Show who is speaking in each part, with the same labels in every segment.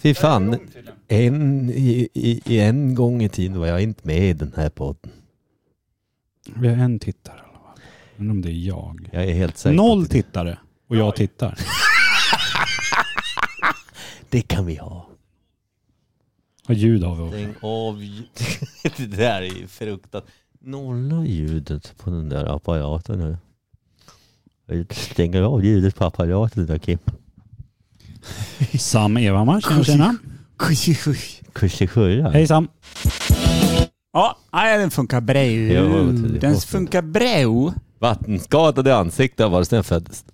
Speaker 1: Fy fan, en, i, i, i en gång i tiden var jag inte med i den här podden.
Speaker 2: Vi har en tittare i alla fall. Undrar om det är jag.
Speaker 1: Jag är helt säker.
Speaker 2: Noll
Speaker 1: på det.
Speaker 2: tittare och jag tittar.
Speaker 1: Det kan vi ha.
Speaker 2: Och ljud har vi också.
Speaker 1: Stäng av ljudet. Det där är ju fruktat. Nolla ljudet på den där apparaten nu. Stänger av ljudet på apparaten där Kim.
Speaker 2: Sam Evhammar, tjena tjena.
Speaker 1: Kusikurra.
Speaker 2: Hej Sam.
Speaker 3: Ja, nej, den funkar
Speaker 1: Ja, det
Speaker 3: bra.
Speaker 1: var tydligt.
Speaker 3: Den funkar bra.
Speaker 1: Vattenskadad i ansiktet har varit sedan jag föddes.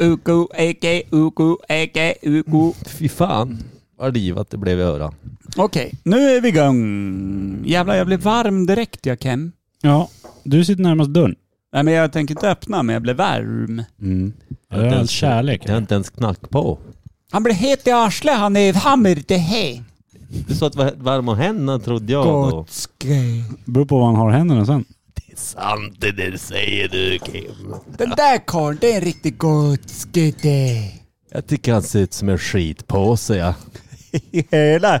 Speaker 3: Uku, eke, uku, eke, uku.
Speaker 1: Fy fan vad livat det blev i öran.
Speaker 3: Okej, nu är vi igång. Jävlar, jag blev varm direkt jag Ken.
Speaker 2: Ja, du sitter närmast dörren.
Speaker 3: Nej men jag tänker inte öppna, men jag blev varm.
Speaker 2: Mm. Det är all kärlek.
Speaker 1: Jag har inte ens knack på.
Speaker 3: Han blir het i arslet, han är hammer det här.
Speaker 1: Du sa att var varm om händerna trodde jag då.
Speaker 3: Gotske.
Speaker 2: Beror på vad han har i händerna sen.
Speaker 1: Det är sant det där säger du Kim.
Speaker 3: Den där karln, det är en riktig gotske det.
Speaker 1: Jag tycker han ser ut som en skitpåse ja.
Speaker 3: Hela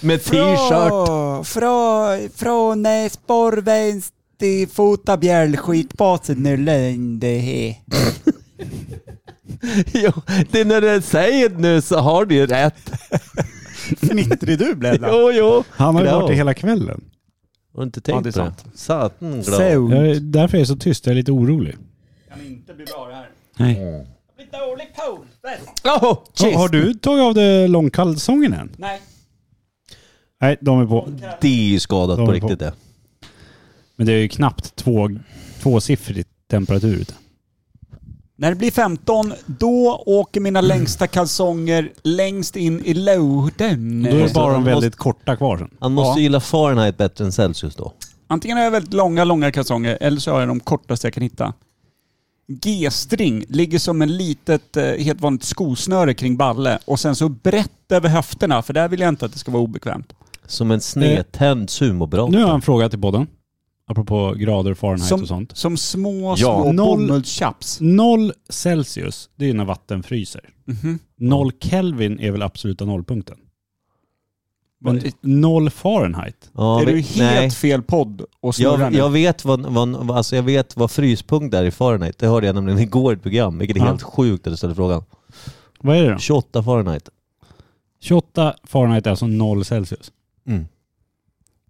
Speaker 1: Med t-shirt.
Speaker 3: Från, från, från eh, spårväns till fotabjäll skitbasen nu lände he.
Speaker 1: Jo, det är när du säger det nu så har du ju rätt.
Speaker 3: Fnittrig du blev då.
Speaker 1: Jo, jo.
Speaker 2: Han har ju
Speaker 1: Glad.
Speaker 2: varit det hela kvällen.
Speaker 1: Har du inte
Speaker 3: Ja,
Speaker 1: tänkt
Speaker 3: det är
Speaker 1: på det? Satan glad.
Speaker 3: Sound.
Speaker 2: Jag är, därför är jag så tyst, jag är lite orolig.
Speaker 3: Kan inte bli bra det här.
Speaker 2: Nej.
Speaker 3: Blir dålig på fest.
Speaker 1: Oh,
Speaker 2: Har, har du tagit av dig långkalsongen än?
Speaker 3: Nej.
Speaker 2: Nej, de är på.
Speaker 1: Det är ju skadat
Speaker 2: De
Speaker 1: på
Speaker 2: på-
Speaker 1: riktigt det.
Speaker 2: Men det är ju knappt två, tvåsiffrig temperatur ute.
Speaker 3: När det blir 15, då åker mina längsta kalsonger längst in i lådan.
Speaker 2: Då är det
Speaker 1: måste-
Speaker 2: bara de
Speaker 1: måste-
Speaker 2: väldigt korta kvar sen.
Speaker 1: Han måste
Speaker 3: Ja.
Speaker 1: gilla Fahrenheit bättre än Celsius då.
Speaker 3: Antingen har jag väldigt långa, långa kalsonger eller så har jag de kortaste jag kan hitta. G-string ligger som en litet, eh, helt vanligt skosnöre kring balle och sen så brett över höfterna för där vill jag inte att det ska vara obekvämt.
Speaker 1: Som en snedtänd
Speaker 2: Nu har jag
Speaker 1: sumobrata.
Speaker 2: en fråga till podden. Apropå grader, Fahrenheit och
Speaker 3: Som,
Speaker 2: sånt.
Speaker 3: som små,
Speaker 1: Ja.
Speaker 3: små
Speaker 2: Noll-
Speaker 3: bomullschaps.
Speaker 2: Noll Celsius, det är när vatten fryser.
Speaker 3: Mhm.
Speaker 2: Noll Kelvin är väl absoluta nollpunkten. Men
Speaker 3: Vad-
Speaker 2: noll Fahrenheit.
Speaker 1: Ja,
Speaker 3: Är
Speaker 1: vi-
Speaker 3: du helt
Speaker 1: nej.
Speaker 3: fel podd och snurrar
Speaker 1: Jag,
Speaker 3: nu?
Speaker 1: jag, vet vad, vad, alltså jag vet vad fryspunkt är i Fahrenheit. Det hörde jag nämligen igår i ett program, vilket är
Speaker 2: Ja.
Speaker 1: helt sjukt att du ställer frågan.
Speaker 2: Vad är det då?
Speaker 1: 28 Fahrenheit.
Speaker 2: 28 Fahrenheit är alltså noll Celsius.
Speaker 1: Mm.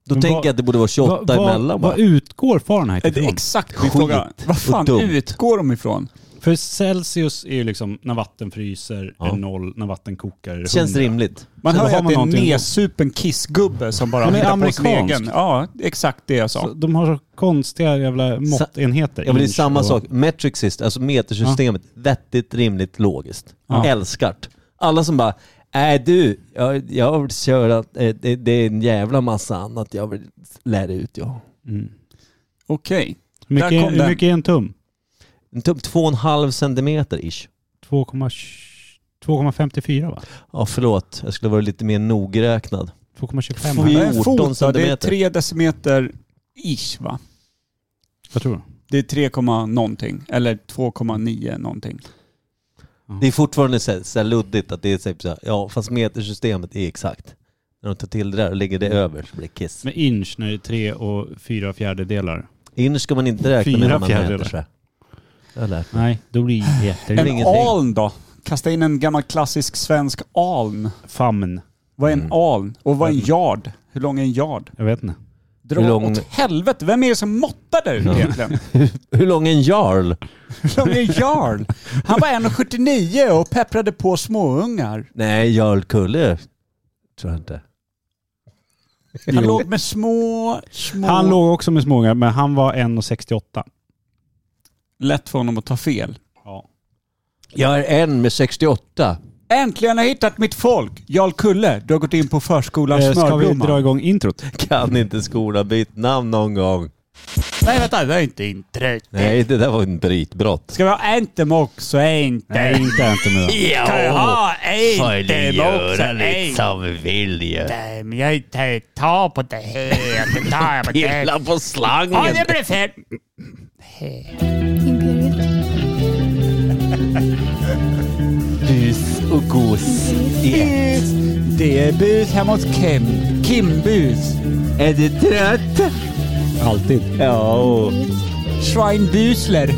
Speaker 1: Då
Speaker 2: Men
Speaker 1: tänker
Speaker 2: vad-
Speaker 1: jag att det borde vara 28
Speaker 2: vad,
Speaker 1: emellan bara.
Speaker 2: Vad utgår Fahrenheit
Speaker 3: Är det
Speaker 2: ifrån?
Speaker 3: exakt min
Speaker 1: Skit
Speaker 3: fråga. Vad fan
Speaker 1: och dumt.
Speaker 3: utgår de ifrån?
Speaker 2: För Celsius är ju liksom när vatten fryser
Speaker 1: Ja.
Speaker 2: är noll, när vatten kokar är
Speaker 1: Det känns
Speaker 2: 100.
Speaker 1: rimligt.
Speaker 3: Man
Speaker 2: Så
Speaker 3: hör
Speaker 2: då
Speaker 3: ju
Speaker 2: har
Speaker 3: att
Speaker 2: man
Speaker 3: det är en
Speaker 2: någonting-
Speaker 3: nedsupen kissgubbe som bara
Speaker 2: Men det är
Speaker 3: hittar på sin
Speaker 2: amerikansk.
Speaker 3: egen. Ja, exakt det jag sa.
Speaker 2: Så De har så konstiga jävla måttenheter.
Speaker 1: Ja men det är
Speaker 2: Inch
Speaker 1: samma
Speaker 2: och-
Speaker 1: sak. Metric system, alltså metersystemet. Vettigt, rimligt, logiskt.
Speaker 2: Ja.
Speaker 1: Älskart. Alla som bara, nej du, jag, jag vill köra, eh, det, det är en jävla massa annat jag vill lära ut jag.
Speaker 3: Okej.
Speaker 2: Mm. Hur
Speaker 3: Där
Speaker 2: mycket,
Speaker 3: kom
Speaker 2: hur
Speaker 3: den.
Speaker 2: mycket är en tum?
Speaker 1: En Typ två och en halv centimeter ish.
Speaker 2: 2,20 2,54 va?
Speaker 1: Ja förlåt, jag skulle vara lite mer nogräknad.
Speaker 2: 2,25
Speaker 1: Fy-
Speaker 2: va?
Speaker 3: Det är en
Speaker 1: 14
Speaker 3: fot, då. det är
Speaker 1: centimeter.
Speaker 3: 3 decimeter ish va?
Speaker 2: Vad tror du?
Speaker 3: Det är 3, komma någonting. Eller 2,9 någonting.
Speaker 1: Det är fortfarande så, så här luddigt att det är typ så här, ja fast metersystemet är exakt. När de tar till det där och lägger det
Speaker 2: Mm.
Speaker 1: över så blir det kiss.
Speaker 2: Med inch när det är tre och fyra fjärdedelar.
Speaker 1: Innerst ska man inte räkna med
Speaker 2: Fyra
Speaker 1: när man mäter
Speaker 2: fjärdedelar.
Speaker 1: så här. Jag har lärt mig.
Speaker 2: Nej, då blir det
Speaker 1: väl
Speaker 3: En
Speaker 2: jättelätt.
Speaker 1: ingenting.
Speaker 3: aln då? Kasta in en gammal klassisk svensk aln.
Speaker 2: Famn.
Speaker 3: Vad är
Speaker 2: Mm.
Speaker 3: en aln? Och vad är en yard? Hur lång är en yard?
Speaker 2: Jag vet inte.
Speaker 3: Dra
Speaker 1: Hur lång-
Speaker 3: åt helvete, vem är det som måttar där ute egentligen?
Speaker 1: Hur lång är en jarl?
Speaker 3: Hur lång är Jarl? Han var 1,79 och pepprade på småungar.
Speaker 1: Nej, jarlkulle tror jag inte.
Speaker 3: Han låg med små, små...
Speaker 2: Han låg också med småungar, men han var 1,68.
Speaker 3: Lätt för honom att ta fel.
Speaker 2: Ja.
Speaker 1: Jag är en med 68.
Speaker 3: Äntligen har jag hittat mitt folk! Jarl Kulle, du har gått in på förskolans
Speaker 2: Eh, Ska vi
Speaker 3: smörblomma.
Speaker 2: dra igång introt?
Speaker 1: Kan inte skolan byta namn någon gång?
Speaker 3: Nej vänta, det är inte introt.
Speaker 1: Nej, det där var en brytbrott.
Speaker 3: Ska vi ha Anthem också? Inte.
Speaker 2: Nej, inte inte nu.
Speaker 3: Kan jag ha Anthem också?
Speaker 1: vi vill ju.
Speaker 3: Anthem. Jag tar- tar på det här, det tar jag på det här.
Speaker 1: på
Speaker 3: Ja,
Speaker 1: slangen.
Speaker 3: det blir fel.
Speaker 4: Imperiet.
Speaker 1: Hus och gos. Yeah.
Speaker 3: Det är bus hemåt Kim. Kimbus.
Speaker 1: Är du trött?
Speaker 2: Alltid.
Speaker 1: Ja. och
Speaker 3: Schweinbusler.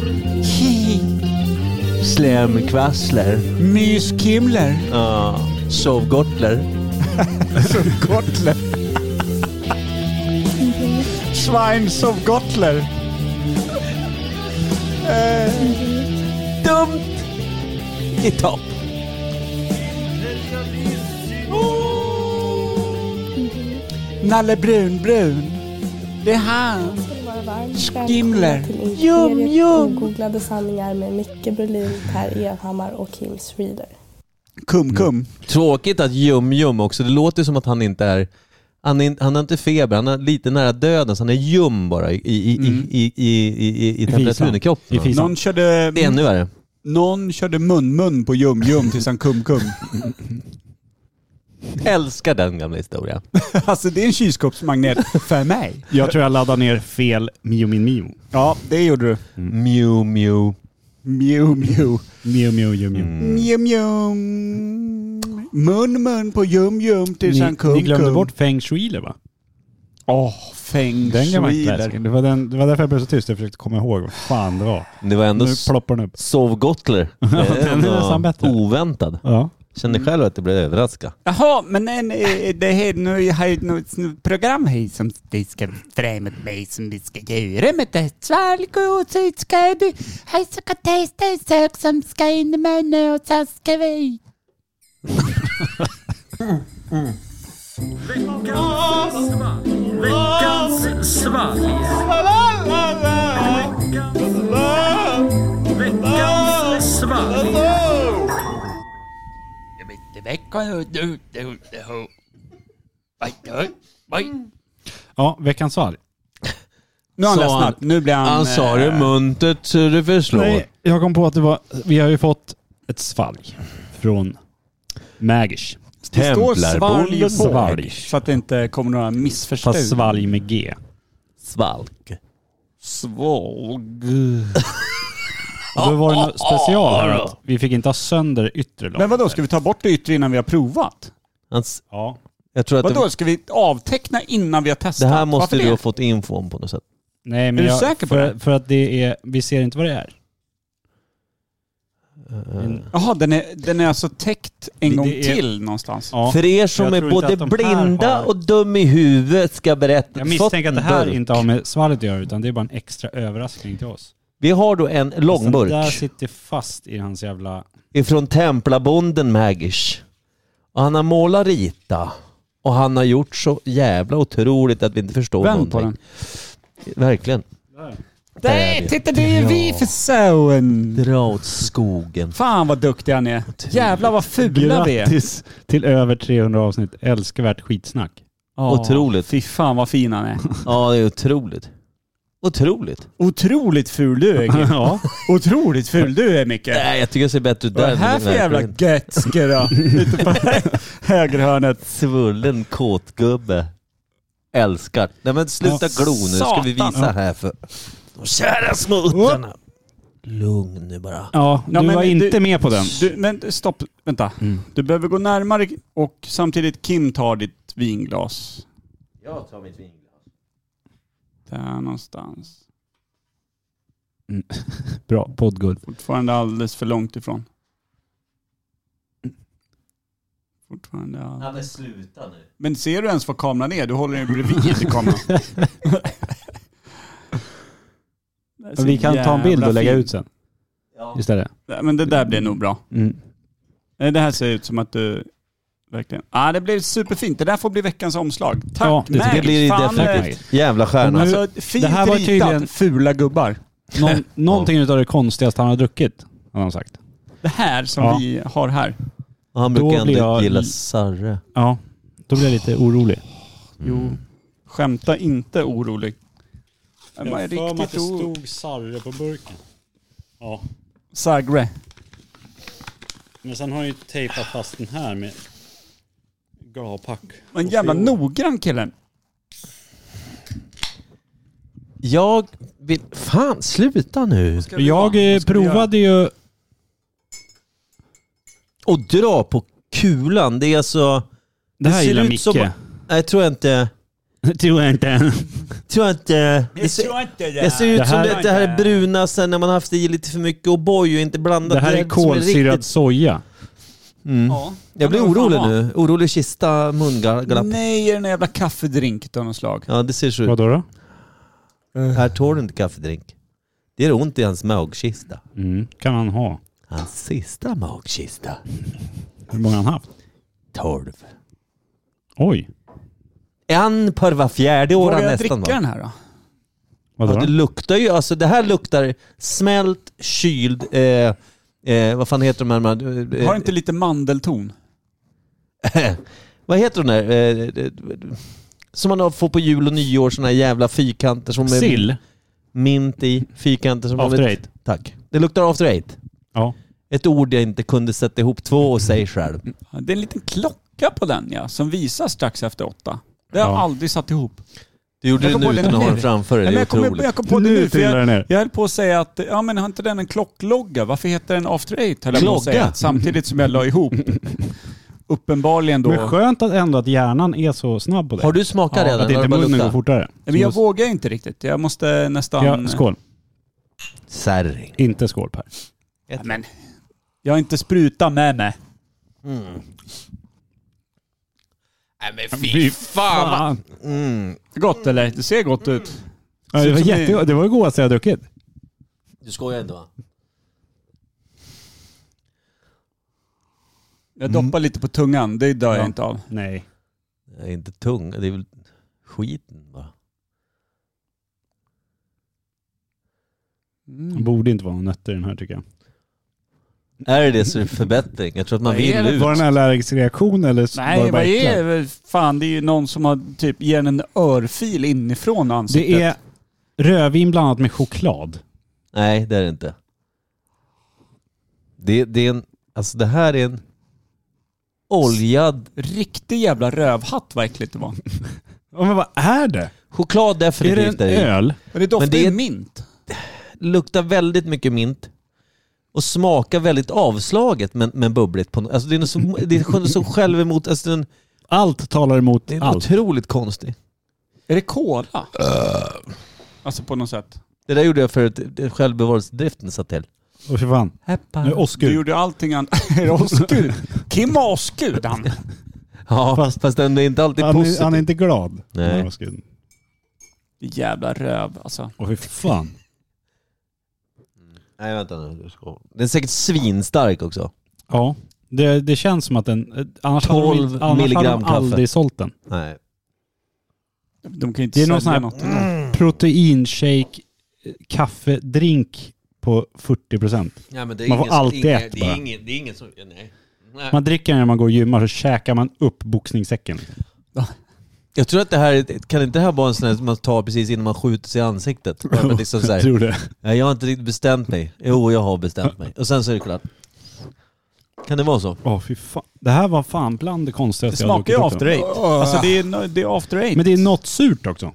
Speaker 1: Slemkvassler.
Speaker 3: Myskimler.
Speaker 1: Ja. Sovgottler.
Speaker 3: Gottler. Schwein som Gottler.
Speaker 1: Dumt i topp.
Speaker 3: Nalle Brunbrun. Det är
Speaker 1: Ah.
Speaker 3: han.
Speaker 4: skulle vara varmt
Speaker 3: Skimler.
Speaker 4: välkomna till
Speaker 1: Yum, yum.
Speaker 4: Imperiet Ogooglade sanningar med Micke Berlin, Per Evhammar och Kim Reader.
Speaker 3: Kum-kum.
Speaker 1: Tråkigt att Jum Jum också, det låter som att han inte är han, är, in- han har inte feber, han är lite nära döden så han är ljum bara i, i, i,
Speaker 3: Mm.
Speaker 1: i, i, i, i, i temperaturen i kroppen.
Speaker 2: I fisan.
Speaker 3: Någon körde,
Speaker 1: Det är ännu värre.
Speaker 3: någon körde mun-mun på Jum-Jum tills han Kum-Kum.
Speaker 1: Älskar den gamla historien.
Speaker 3: Alltså det är en kylskåpsmagnet för mig.
Speaker 2: Jag tror jag laddade ner fel Mio Min Mio.
Speaker 3: Ja, det gjorde du.
Speaker 1: Mew Mew.
Speaker 3: Mju, mju.
Speaker 2: Mio Mio Mio Mio.
Speaker 3: Mju, mju. Mun, mun på jum, jum tills han
Speaker 2: Ni,
Speaker 3: kum,
Speaker 2: ni glömde
Speaker 3: kum.
Speaker 2: bort Feng Shuiler va?
Speaker 3: Åh, feng
Speaker 2: Den gamla
Speaker 3: shui
Speaker 2: klassikern. Det
Speaker 3: där.
Speaker 2: var, den, det var därför jag blev så tyst. Jag försökte komma ihåg vad fan det var.
Speaker 1: Det var ändå
Speaker 2: Nu ploppar den upp.
Speaker 1: Sovgottler. Det
Speaker 2: den är nästan bättre.
Speaker 1: Oväntad.
Speaker 2: Ja.
Speaker 1: Kände själv att det blev överraskad.
Speaker 3: Jaha, men en, eh, det här nu har ju något program här som vi ska främja med som vi ska göra med det. Svalgodis ska du, här ska testa en sak som ska in i munnen och sen ska vi.
Speaker 2: Ja, veckans svar.
Speaker 3: Nu har han
Speaker 1: Sa
Speaker 3: ledsnat. Nu blir han...
Speaker 1: Han sa det
Speaker 3: eh,
Speaker 1: muntert så det förslår.
Speaker 2: Nej, jag kom på att det var, vi har ju fått ett svalg från Magish.
Speaker 3: Det står svalg på.
Speaker 2: Svalg.
Speaker 3: Så att det inte kommer några missförstånd.
Speaker 2: Fast svalg med G.
Speaker 1: Svalk.
Speaker 3: Svalg.
Speaker 2: Och då var det något special här att vi fick inte ha sönder yttre
Speaker 3: Men
Speaker 2: lock.
Speaker 3: vadå, ska vi ta bort det yttre innan vi har provat?
Speaker 1: Hans,
Speaker 2: Ja.
Speaker 1: jag tror att
Speaker 3: Vadå,
Speaker 1: det,
Speaker 3: ska vi avteckna innan vi har testat?
Speaker 1: det här måste
Speaker 3: Varför
Speaker 1: du
Speaker 3: det?
Speaker 1: ha fått info om på något sätt.
Speaker 2: Nej, men
Speaker 3: Är du
Speaker 2: jag,
Speaker 3: säker på
Speaker 2: för,
Speaker 3: det?
Speaker 2: För att det är, vi ser inte vad det är.
Speaker 1: Eh,
Speaker 2: Men-
Speaker 3: Jaha, den är, den är alltså täckt en
Speaker 2: Det-
Speaker 3: gång
Speaker 2: det är-
Speaker 3: till någonstans.
Speaker 2: Ja.
Speaker 1: För er som
Speaker 2: jag
Speaker 1: är
Speaker 2: tror inte
Speaker 1: både
Speaker 2: att de här
Speaker 1: blinda
Speaker 2: har-
Speaker 1: och dum i huvudet ska berätta.
Speaker 2: Jag misstänker att det här
Speaker 1: Fått en burk.
Speaker 2: inte har med svalget att göra utan det är bara en extra överraskning till oss.
Speaker 1: Vi har då en
Speaker 2: Så den Alltså, där
Speaker 1: långburk
Speaker 2: sitter fast i hans jävla...
Speaker 1: ifrån templabonden Magish. Och han har målat rita. Och han har gjort så jävla otroligt att vi inte förstår
Speaker 3: Vänd på
Speaker 1: någonting.
Speaker 3: den.
Speaker 1: Verkligen. Där är
Speaker 3: Där,
Speaker 1: det.
Speaker 3: titta det är
Speaker 1: Ja.
Speaker 3: vi för sån!
Speaker 1: Dra åt skogen.
Speaker 3: Fan vad duktig han är. Jävlar vad fula vi är.
Speaker 2: Grattis till över 300 avsnitt. Älskvärt skitsnack.
Speaker 3: Ja,
Speaker 1: Otroligt.
Speaker 3: Fy fan vad fin han är.
Speaker 1: Ja, det är otroligt. Otroligt.
Speaker 3: Otroligt ful du är Kim.
Speaker 2: ja.
Speaker 3: Otroligt ful du är Micke.
Speaker 1: Nej, jag tycker det ser bättre ut där.
Speaker 3: Vad är det här
Speaker 1: än i
Speaker 3: för jävla
Speaker 1: verkligheten.
Speaker 3: götske då? Ute på högerhörnet.
Speaker 1: Svullen kåtgubbe. Älskar. Nej men sluta
Speaker 2: Ja,
Speaker 1: glo nu, ska vi
Speaker 3: satan.
Speaker 1: visa här för de kära smuttarna. Lugn nu bara.
Speaker 2: ja, du
Speaker 3: Ja, men
Speaker 2: var
Speaker 3: du-
Speaker 2: inte med på den. Mm.
Speaker 3: Du, men stopp, vänta. Du behöver gå närmare och samtidigt Kim tar ditt vinglas.
Speaker 1: Jag tar mitt vinglas.
Speaker 3: Där någonstans.
Speaker 2: Bra, poddguld.
Speaker 3: Fortfarande alldeles för långt ifrån. Fortfarande all...
Speaker 1: men sluta nu.
Speaker 3: Men ser du ens vad kameran är? Du håller ju bredvid kameran. Det är så
Speaker 2: Vi kan ta en bild
Speaker 3: jävla
Speaker 2: och lägga
Speaker 3: fint.
Speaker 2: ut sen
Speaker 1: Ja.
Speaker 2: istället.
Speaker 3: Nej, Men det där blir nog bra.
Speaker 2: Mm.
Speaker 3: Nej, Det här ser ut som att du verkligen... Ja, ah, det blev superfint. Det där får bli veckans omslag. Tack
Speaker 2: Ja, det
Speaker 3: Max.
Speaker 1: Det blir ju
Speaker 3: Fan, eh,
Speaker 1: definitivt. Jävla stjärna.
Speaker 2: Men-
Speaker 3: Alltså, fint
Speaker 2: Det här var
Speaker 3: ritat.
Speaker 2: tydligen-
Speaker 3: Fula gubbar.
Speaker 2: Någon, någonting utav det konstigaste han har druckit, har han sagt.
Speaker 3: Det här som
Speaker 2: Ja.
Speaker 3: vi har här.
Speaker 1: Och han
Speaker 2: Då
Speaker 1: brukar ändå
Speaker 2: blir jag-
Speaker 1: gilla Sarre.
Speaker 2: Ja. Då blir jag lite orolig.
Speaker 3: Jo. Skämta inte orolig. Jag var riktigt orolig.
Speaker 2: Sarre på burken. Ja.
Speaker 3: Sagre.
Speaker 2: Men sen har han ju tejpat fast den här med gladpack.
Speaker 3: En jävla noggrann killen.
Speaker 1: Jag vill... Fan, sluta nu.
Speaker 2: Jag eh, provade ju
Speaker 1: Och dra på kulan. Det är alltså...
Speaker 2: Det här
Speaker 1: ser
Speaker 2: gillar
Speaker 1: ut
Speaker 2: Micke.
Speaker 1: som- Nej, tror jag inte.
Speaker 2: Det tror jag inte.
Speaker 1: Tror jag inte. Det ser,
Speaker 3: inte
Speaker 1: det ser ut
Speaker 2: Det
Speaker 1: som
Speaker 2: här-
Speaker 1: det, det här är bruna sen när man haft i lite för mycket O'boy och inte blandat.
Speaker 2: Det här är
Speaker 1: som riktigt-
Speaker 2: kolsyrad soja.
Speaker 1: Mm.
Speaker 3: Ja.
Speaker 1: Jag blir
Speaker 3: Men vad fan
Speaker 1: orolig
Speaker 3: var-
Speaker 1: nu. Orolig kista, mungalapp.
Speaker 3: Nej, är det någon jävla kaffedrink av något slag?
Speaker 1: Ja, det ser så ut.
Speaker 2: Vadå då?
Speaker 3: Mm.
Speaker 1: Här tål du inte kaffedrink. Det är ont i hans magkista.
Speaker 2: Mm, kan han ha.
Speaker 1: Hans sista magkista.
Speaker 2: Hur många har han haft?
Speaker 1: 12.
Speaker 2: Oj.
Speaker 1: En per var fjärde år
Speaker 3: Vågar
Speaker 1: han
Speaker 3: jag
Speaker 1: nästan
Speaker 3: dricka
Speaker 1: va?
Speaker 3: den här då?
Speaker 2: Vadå
Speaker 1: Ja, det
Speaker 2: då?
Speaker 1: luktar ju, alltså det här luktar smält, kyld, eh, eh, vad fan heter de här man, eh,
Speaker 3: Har inte lite mandelton?
Speaker 1: Vad heter de där? Eh, eh, som man har- får på jul och nyår, såna här jävla fyrkanter som är
Speaker 2: Sill.
Speaker 1: mint i. Fyrkanter som...
Speaker 2: After eight.
Speaker 1: Tack. Det luktar after eight.
Speaker 2: Ja.
Speaker 1: Ett ord jag inte kunde sätta ihop två och säga själv.
Speaker 3: Ja, Det är en liten klocka på den ja, som visar strax efter åtta. Det har jag
Speaker 2: Ja.
Speaker 3: aldrig satt ihop.
Speaker 1: Du gjorde
Speaker 3: Jag
Speaker 1: det
Speaker 3: kom
Speaker 1: nu
Speaker 3: på det
Speaker 1: utan att ha
Speaker 3: nu.
Speaker 1: den framför dig.
Speaker 3: Nej,
Speaker 1: Det är
Speaker 3: men jag, kom,
Speaker 1: otroligt.
Speaker 3: jag kom på det nu, för
Speaker 2: trillar
Speaker 3: jag,
Speaker 2: den ner.
Speaker 3: jag höll på att säga att, ja men har inte den en klocklogga? Varför heter den After Eight? höll jag på att
Speaker 1: Klogga?
Speaker 3: säga, Samtidigt som jag la ihop. Uppenbarligen då.
Speaker 2: Men skönt att ändå att hjärnan är så snabb på det.
Speaker 1: Har du smakat
Speaker 2: ja,
Speaker 1: redan?
Speaker 2: Att
Speaker 1: Har
Speaker 2: inte
Speaker 1: du bara
Speaker 2: munnen går
Speaker 1: luktat?
Speaker 2: fortare.
Speaker 3: Nej, men jag vågar inte riktigt. Jag måste nästan...
Speaker 2: ja, skål.
Speaker 1: Särring.
Speaker 2: Inte skål Per.
Speaker 3: Ja, men, jag har inte spruta med mig.
Speaker 1: Nej men
Speaker 2: Fy fan
Speaker 3: Gott eller? Det ser gott ut.
Speaker 2: Ja, det var jättegott. Det var det godaste jag druckit.
Speaker 1: Du skojar inte va?
Speaker 3: Jag doppar lite på tungan, det dör
Speaker 2: Ja.
Speaker 3: jag inte av.
Speaker 2: Nej.
Speaker 1: Jag är inte tung. Det är väl skiten bara.
Speaker 2: Det borde inte vara några nötter i den här tycker jag.
Speaker 1: Är det det så är det förbättring? Jag tror att man
Speaker 3: Vad är
Speaker 1: vill
Speaker 3: det
Speaker 1: ut.
Speaker 2: Var det en allergisk reaktion eller var
Speaker 3: Nej,
Speaker 2: det bara
Speaker 3: vad
Speaker 2: äckligt?
Speaker 3: är det? Fan, det är ju någon som har typ ger en örfil inifrån ansiktet.
Speaker 2: Det är rödvin blandat med choklad.
Speaker 1: Nej, det är det inte. Det, det är en... Alltså det här är en oljad...
Speaker 3: Riktig jävla rövhatt vad äckligt det var.
Speaker 2: Ja, men vad är det?
Speaker 1: Choklad
Speaker 2: Är det
Speaker 1: definitivt
Speaker 2: en
Speaker 1: är det ju.
Speaker 2: öl?
Speaker 3: Men det doftar
Speaker 1: Men det
Speaker 3: ju
Speaker 1: är-
Speaker 3: mint.
Speaker 1: Luktar väldigt mycket mint. Och smakar väldigt avslaget men, men bubbligt. På, nå- alltså det är något så, det är så själv emot... Alltså den,
Speaker 2: Allt talar emot
Speaker 1: det är
Speaker 2: allt.
Speaker 1: otroligt konstig.
Speaker 3: Är det cola? Alltså på något sätt.
Speaker 1: Det där gjorde jag för att det- självbevarelsedriften satt till.
Speaker 2: Och för fan. Nu är
Speaker 1: Heppar.
Speaker 3: Du
Speaker 2: Oscar.
Speaker 3: gjorde allting annat. Är det åskud? Kim har åskud han.
Speaker 1: Ja, fast, fast den är inte alltid
Speaker 2: Han är,
Speaker 1: positiv.
Speaker 2: han är inte glad.
Speaker 1: Nej.
Speaker 2: Den här Oscar.
Speaker 3: Jävla röv alltså.
Speaker 2: Åh fy fan.
Speaker 1: Nej, vänta nu. du ska- Den är säkert svinstark också.
Speaker 2: Ja. Det, det känns som att den... eh, Annars hade
Speaker 1: 12
Speaker 2: de, annars hade
Speaker 1: milligram
Speaker 2: de
Speaker 1: kaffe.
Speaker 2: aldrig sålt den.
Speaker 1: Nej.
Speaker 3: De kan ju inte
Speaker 2: Det är någon sån
Speaker 3: sälja
Speaker 2: här
Speaker 3: något.
Speaker 2: proteinshake, eh, kaffedrink på 40 procent.
Speaker 1: Ja, men det
Speaker 2: är Man får ingen som- alltid ingen- ett det är bara.
Speaker 1: ingen, det är ingen som... Nej.
Speaker 2: Man dricker den när man går och gymmar så käkar man upp boxningssäcken.
Speaker 1: Jag tror att det här, är- kan inte det här vara en sån här som man tar precis innan man skjuter sig i ansiktet? Bara för att liksom så
Speaker 2: Jag
Speaker 1: här,
Speaker 2: tror det.
Speaker 1: nej, jag har inte riktigt bestämt mig. Jo, jag har bestämt mig. Och sen så är det klart. Kan det vara så?
Speaker 2: Åh fy fan. Det här var fan bland det
Speaker 3: Det
Speaker 2: konstigaste
Speaker 3: smakar ju
Speaker 2: druckit
Speaker 3: after
Speaker 2: också.
Speaker 3: eight. Alltså det är, no- det är after eight.
Speaker 2: Men det är något surt också.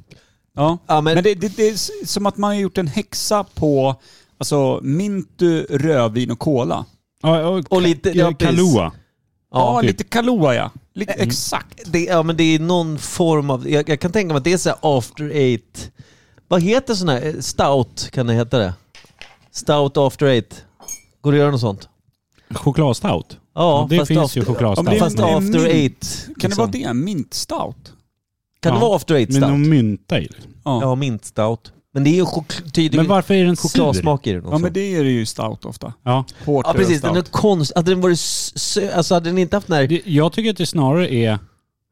Speaker 3: Ja.
Speaker 1: Ja, men-
Speaker 3: men det, det, det är s- som att man har gjort en häxa på alltså, mintu, rödvin och cola.
Speaker 2: Ja, och,
Speaker 1: Och lite-
Speaker 2: ka-
Speaker 1: ja, precis.
Speaker 2: Kahlua.
Speaker 3: Ja,
Speaker 2: typ.
Speaker 3: lite Kahlua ja. Lite,
Speaker 1: Mm.
Speaker 3: Exakt.
Speaker 1: Det, ja, men det är någon form av... Jag, jag kan tänka mig att det är så här after eight... Vad heter sån här? Eh, Stout kan det heta det. Stout after eight. Går det att göra något sånt?
Speaker 2: Chokladstout.
Speaker 1: Ja,
Speaker 2: det
Speaker 1: fast
Speaker 2: finns
Speaker 1: after,
Speaker 2: ju chokladstout.
Speaker 3: Ja, men det är
Speaker 1: Fast
Speaker 3: inte en
Speaker 1: after
Speaker 3: mint.
Speaker 1: eight.
Speaker 3: Kan det
Speaker 1: liksom.
Speaker 3: vara det? Mintstout?
Speaker 1: Kan det
Speaker 2: Ja.
Speaker 1: vara after eight
Speaker 2: Med
Speaker 1: stout?
Speaker 2: någon mynta i.
Speaker 3: Ja.
Speaker 1: Ja, mint stout. Men det är ju chok- tydligen
Speaker 2: Men varför är den sur?
Speaker 1: chokladsmak i den också.
Speaker 3: ja men det är det ju stout ofta.
Speaker 2: Ja.
Speaker 3: Hårt
Speaker 1: Alltså. Ja precis, den är
Speaker 3: stout.
Speaker 1: konst... Hade den varit sö... Alltså hade den inte haft den här...
Speaker 2: Det- Jag tycker att det snarare är...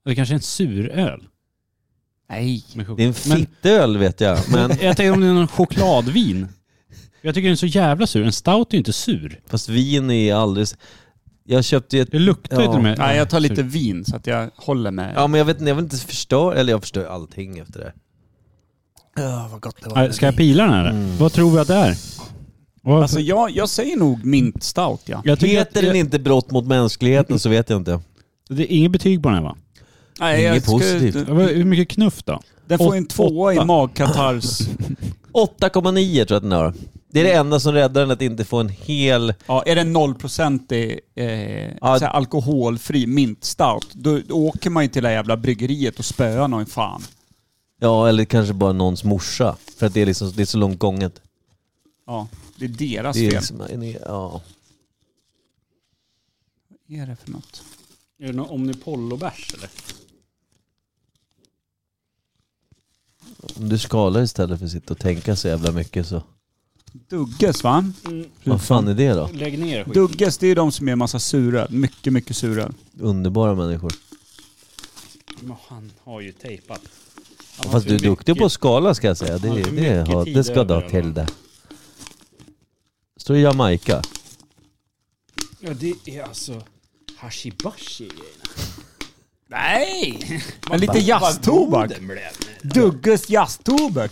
Speaker 2: Det kanske är en suröl.
Speaker 3: Nej.
Speaker 2: med choklad.
Speaker 1: Det är en
Speaker 2: Men-
Speaker 1: fittöl vet jag, men...
Speaker 2: Jag tänker om det är någon chokladvin. Jag tycker den är så jävla sur. En stout är inte sur.
Speaker 1: Fast vin är alldeles... Jag köpte ju ett...
Speaker 2: Det luktar ju
Speaker 1: Ja.
Speaker 2: till och med...
Speaker 3: Nej, jag tar lite
Speaker 2: sur.
Speaker 3: vin så att jag håller med.
Speaker 1: Typ. Ja men jag vet inte, jag vill inte förstöra... Eller jag förstör allting efter det.
Speaker 3: vad gott det
Speaker 2: Nej, Ska jag pila den här eller? Vad tror vi att det är? Vad-
Speaker 3: Alltså jag, jag säger nog mintstout ja.
Speaker 2: jag tycker att
Speaker 1: Heter den
Speaker 2: det,
Speaker 1: inte brott mot mänskligheten så vet jag inte.
Speaker 2: det är inget betyg på den här va?
Speaker 3: Nej,
Speaker 1: Inget
Speaker 3: skulle-
Speaker 1: positivt.
Speaker 2: Ja, vad- Hur mycket knuff då?
Speaker 3: Den får en tvåa i
Speaker 2: Åtta.
Speaker 3: magkatars...
Speaker 1: 8,9 tror jag att den har. Det är det
Speaker 2: Mm.
Speaker 1: enda som räddar den, att inte få en hel...
Speaker 3: Ja, är det 0% i, eh,
Speaker 1: Ja.
Speaker 3: så här alkoholfri mintstout, då, då åker man ju till det här jävla bryggeriet och spöar någon fan.
Speaker 1: Ja, eller kanske bara någons morsa. För att det är, liksom, det är så långt gånget.
Speaker 3: Ja, det är deras
Speaker 1: Det är
Speaker 3: fel.
Speaker 1: liksom, en- ja.
Speaker 3: Vad är det för något?
Speaker 2: Är det någon Omnipollo-bärs eller?
Speaker 1: Om du skalar istället för att sitta och tänka så jävla mycket så...
Speaker 3: Dugges va?
Speaker 1: Vad fan är det då?
Speaker 2: Lägg ner skit.
Speaker 3: Dugges, det är ju de som är en massa sura. Mycket, mycket sura.
Speaker 1: Underbara människor.
Speaker 2: Men han har ju tejpat. Han
Speaker 1: Fast du är duktig på att skala ska jag säga. Det,
Speaker 2: Han har
Speaker 1: det,
Speaker 2: för
Speaker 1: det,
Speaker 2: mycket
Speaker 1: har-
Speaker 2: tid
Speaker 1: det ska du
Speaker 2: över,
Speaker 1: ha
Speaker 2: va?
Speaker 1: till det. Står i Jamaica.
Speaker 2: Ja det är alltså hashibashi grejerna.
Speaker 3: Nej! Men lite jazztobak. Dugges jazztobak.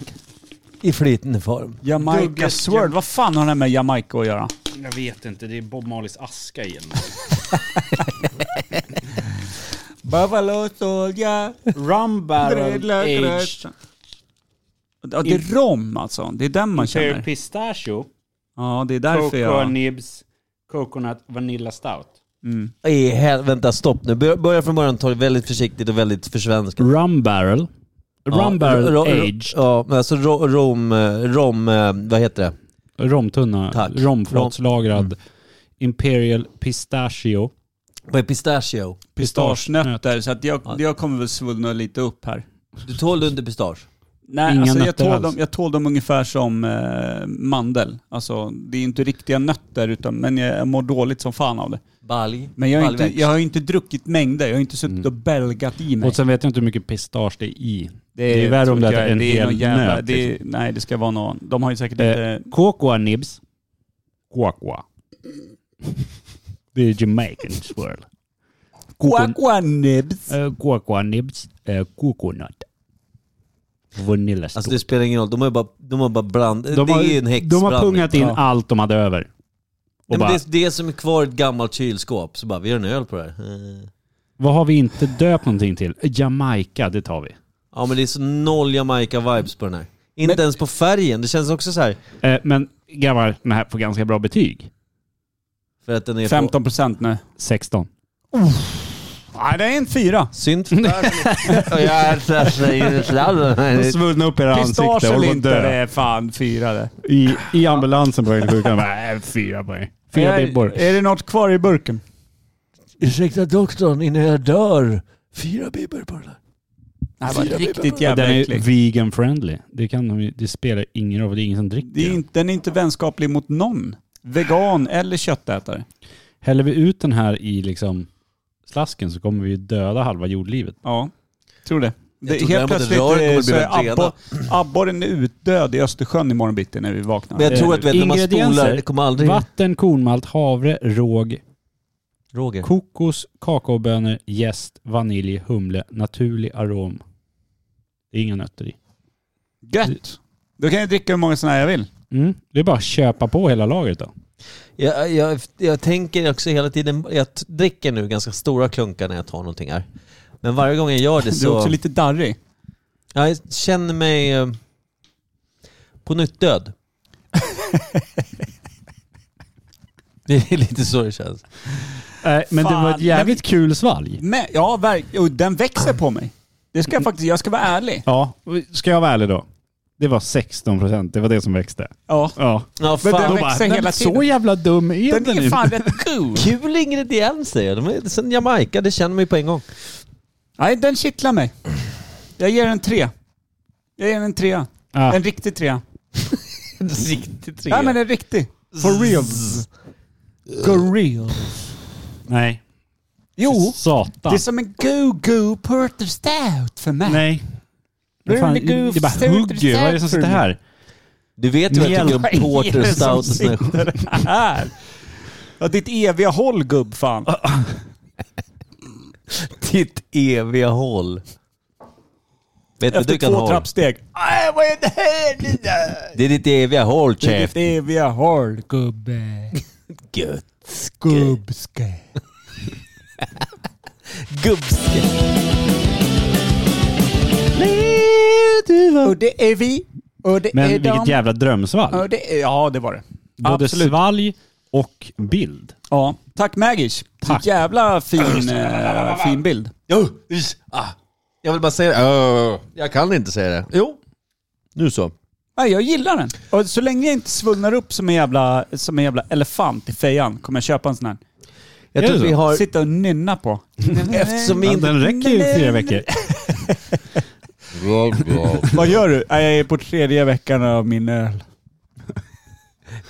Speaker 1: I flytande form.
Speaker 3: Jamaica
Speaker 2: Dugges
Speaker 3: Sword.
Speaker 2: jam-
Speaker 3: Vad fan har det med Jamaica att göra?
Speaker 2: Jag vet inte, det är Bob Marleys aska igen.
Speaker 3: Buffalo soldier,
Speaker 2: Rum barrel aged
Speaker 3: Ja, det är rom alltså. Det är den man
Speaker 2: imperial
Speaker 3: känner.
Speaker 2: pistachio,
Speaker 3: Ja, det är därför
Speaker 2: cocoa
Speaker 3: jag...
Speaker 2: nibs, coconut vanilla stout.
Speaker 1: I hel- vänta, stopp nu. Bör- Börja från början, ta det väldigt försiktigt och väldigt försvenskat.
Speaker 2: Rum barrel. Rum barrel
Speaker 1: ro- ro-
Speaker 2: aged.
Speaker 1: Ja, men alltså ro- rom, eh, rom, eh, vad heter det?
Speaker 2: Romtunna.
Speaker 1: Tack.
Speaker 2: Romfatslagrad.
Speaker 3: Mm.
Speaker 2: Imperial pistachio.
Speaker 1: Vad är pistachio?
Speaker 3: Pistagenötter. Så att
Speaker 1: Ja.
Speaker 3: jag, jag kommer väl svullna lite upp här.
Speaker 1: Du tål inte pistage?
Speaker 3: Nej,
Speaker 2: Inga
Speaker 3: alltså jag
Speaker 2: nötter
Speaker 3: tål,
Speaker 2: alls.
Speaker 3: dem, jag tål dem ungefär som eh, mandel. Alltså, det är inte riktiga nötter, utan, men jag mår dåligt som fan av det.
Speaker 1: Balj?
Speaker 3: Men jag, är inte,
Speaker 1: Baljväxt.
Speaker 3: jag har ju inte druckit mängder. Jag har inte suttit
Speaker 2: Mm.
Speaker 3: och belgat i mig.
Speaker 2: Och sen vet jag inte hur mycket pistage det är i.
Speaker 3: Det
Speaker 2: är värre om det
Speaker 3: tror jag
Speaker 2: är en
Speaker 3: det är
Speaker 2: hel
Speaker 3: någon jävla,
Speaker 2: nöt, liksom.
Speaker 3: Det är, nej, det ska vara någon. De har ju säkert
Speaker 2: Eh,
Speaker 3: inte...
Speaker 2: cocoa nibs. Cocoa. Det är Jamaican swirl. Cocoa,
Speaker 3: Quackwa nibs.
Speaker 2: eh, cocoa nibs. eh, Coconut. Vanilla
Speaker 1: Alltså det spelar ingen roll, de har ju bara, de har bara bland... det är ju en
Speaker 2: De har
Speaker 1: häxblandning.
Speaker 2: pungat in
Speaker 3: Ja.
Speaker 2: allt de hade över. Och
Speaker 1: Nej, men
Speaker 2: bara,
Speaker 1: det, är det som är kvar i ett gammalt kylskåp, så bara vi gör en öl på det här. Eh.
Speaker 2: Vad har vi inte döpt någonting till? Eh, Jamaica, det tar vi.
Speaker 1: Ja men det är så noll Jamaica-vibes på den här. Inte ens på färgen, det känns också så här
Speaker 2: Eh, men grabbar, den här får ganska bra betyg.
Speaker 1: för att den är på...
Speaker 3: 15 procent nu.
Speaker 2: 16.
Speaker 3: Nej, det är en fyra.
Speaker 1: Synt för Och jag är sladden.
Speaker 2: Svullna upp era
Speaker 3: Pistage eller inte, det är fan fyra det.
Speaker 2: I, I ambulansen på väg till sjukan. Nej, fyra poäng. Fyra
Speaker 3: Är-
Speaker 2: bibbor.
Speaker 3: Är det något kvar i burken?
Speaker 1: Ursäkta doktorn, innan jag dör. Fyra bibber på den här.
Speaker 3: Nej, det var riktigt
Speaker 2: Den
Speaker 3: jävla
Speaker 2: är
Speaker 3: äcklig.
Speaker 2: vegan friendly. Det, kan, de ju- det spelar ingen roll, det är ingen som dricker
Speaker 3: Det är
Speaker 2: den.
Speaker 3: inte, den är inte vänskaplig mot någon. Vegan eller köttätare.
Speaker 2: Häller vi ut den här i liksom slasken så kommer vi ju döda halva jordlivet.
Speaker 3: Ja, tror det. det
Speaker 1: tror
Speaker 3: helt
Speaker 1: däremot att
Speaker 3: plötsligt
Speaker 1: rören kommer
Speaker 3: eh,
Speaker 1: bli
Speaker 3: så är
Speaker 1: väldigt
Speaker 3: abbor- abborren är utdöd i Östersjön imorgon bitti när vi vaknar.
Speaker 1: Men jag tror att vet, när man
Speaker 2: Ingredienser.
Speaker 1: spolar, det kommer aldrig...
Speaker 2: Vatten, kornmalt, havre, råg,
Speaker 1: Roger.
Speaker 2: kokos, kakaobönor, jäst, vanilj, humle, naturlig arom. Det är inga nötter i.
Speaker 3: Gött! Då kan jag dricka hur många sådana här jag vill.
Speaker 2: Mm. Det är bara att köpa på hela lagret då.
Speaker 1: Jag, jag, jag tänker också hela tiden, jag t- dricker nu ganska stora klunkar när jag tar någonting här. Men varje gång jag gör det
Speaker 3: Du är också
Speaker 1: så...
Speaker 3: lite darrig.
Speaker 1: Jag känner mig eh, på nytt död. det är lite så det känns.
Speaker 2: men det var
Speaker 3: Fan.
Speaker 2: ett jävligt kul svalg.
Speaker 3: Men, ja, verk- och den växer på mig. Det ska jag faktiskt, jag ska vara ärlig.
Speaker 2: Ja, ska jag vara ärlig då? Det var 16 procent, det var det som växte.
Speaker 3: Ja.
Speaker 2: Ja.
Speaker 1: Ja,
Speaker 3: Men
Speaker 1: fan.
Speaker 3: den
Speaker 2: Bara,
Speaker 3: växer
Speaker 2: nej,
Speaker 3: hela
Speaker 2: men Så
Speaker 3: tiden.
Speaker 2: jävla dum är den,
Speaker 3: Den är
Speaker 2: inte.
Speaker 3: fan rätt god.
Speaker 1: Kul ingredienser. De är sen Jamaica, det känner man ju på en gång.
Speaker 3: Nej, den kittlar mig. Jag ger den tre. Jag ger den trea.
Speaker 2: Ah.
Speaker 3: En riktig trea.
Speaker 1: Riktigt trevligt.
Speaker 3: Nej men en riktig. For real. For real.
Speaker 2: Nej.
Speaker 3: Jo,
Speaker 2: Satan.
Speaker 3: Oh. det är som en go-go porter stout för mig.
Speaker 2: Nej.
Speaker 3: Det är
Speaker 2: Fan,
Speaker 3: en god
Speaker 2: det bara
Speaker 3: stout
Speaker 2: hugger ju. Vad är det som sitter här?
Speaker 1: Du vet ju vad jag tycker om porter, stout och såna här-
Speaker 3: sånt här. Ja, ditt eviga håll gubb fan.
Speaker 1: Ditt eviga håll. Vet du,
Speaker 3: Efter
Speaker 1: du kan
Speaker 3: två
Speaker 1: håll.
Speaker 3: trappsteg. Aj, vad är det här? Det där?
Speaker 1: Det är ditt eviga håll,
Speaker 3: Det är ditt
Speaker 1: chef.
Speaker 3: eviga håll gubbe.
Speaker 1: Gött.
Speaker 3: Gubbske.
Speaker 1: Gubbske.
Speaker 3: Och det är vi Och det
Speaker 2: Men
Speaker 3: är
Speaker 2: vilket
Speaker 3: de-
Speaker 2: jävla drömsvalg.
Speaker 3: Ja, det, är- ja, det var det.
Speaker 2: Både
Speaker 3: absolut.
Speaker 2: svalg och bild.
Speaker 3: Ja. Tack Magish.
Speaker 2: Tack.
Speaker 3: Jävla fin, eh, fin bild.
Speaker 1: ah. Jag vill bara säga det. Öh, Jag kan inte säga det. Jo. Nu så.
Speaker 3: Nej, jag gillar den. Och så länge jag inte svullnar upp som en jävla, som en jävla elefant i fejan kommer jag köpa en sån här.
Speaker 1: Jag
Speaker 2: Är
Speaker 1: tror
Speaker 2: det
Speaker 1: vi
Speaker 2: så?
Speaker 1: har...
Speaker 3: Sitta och nynna på.
Speaker 1: Eftersom vi
Speaker 2: Ja,
Speaker 1: inte...
Speaker 2: den räcker ju i fyra veckor.
Speaker 3: Vad gör du? Nej, Jag är på tredje veckan av min öl.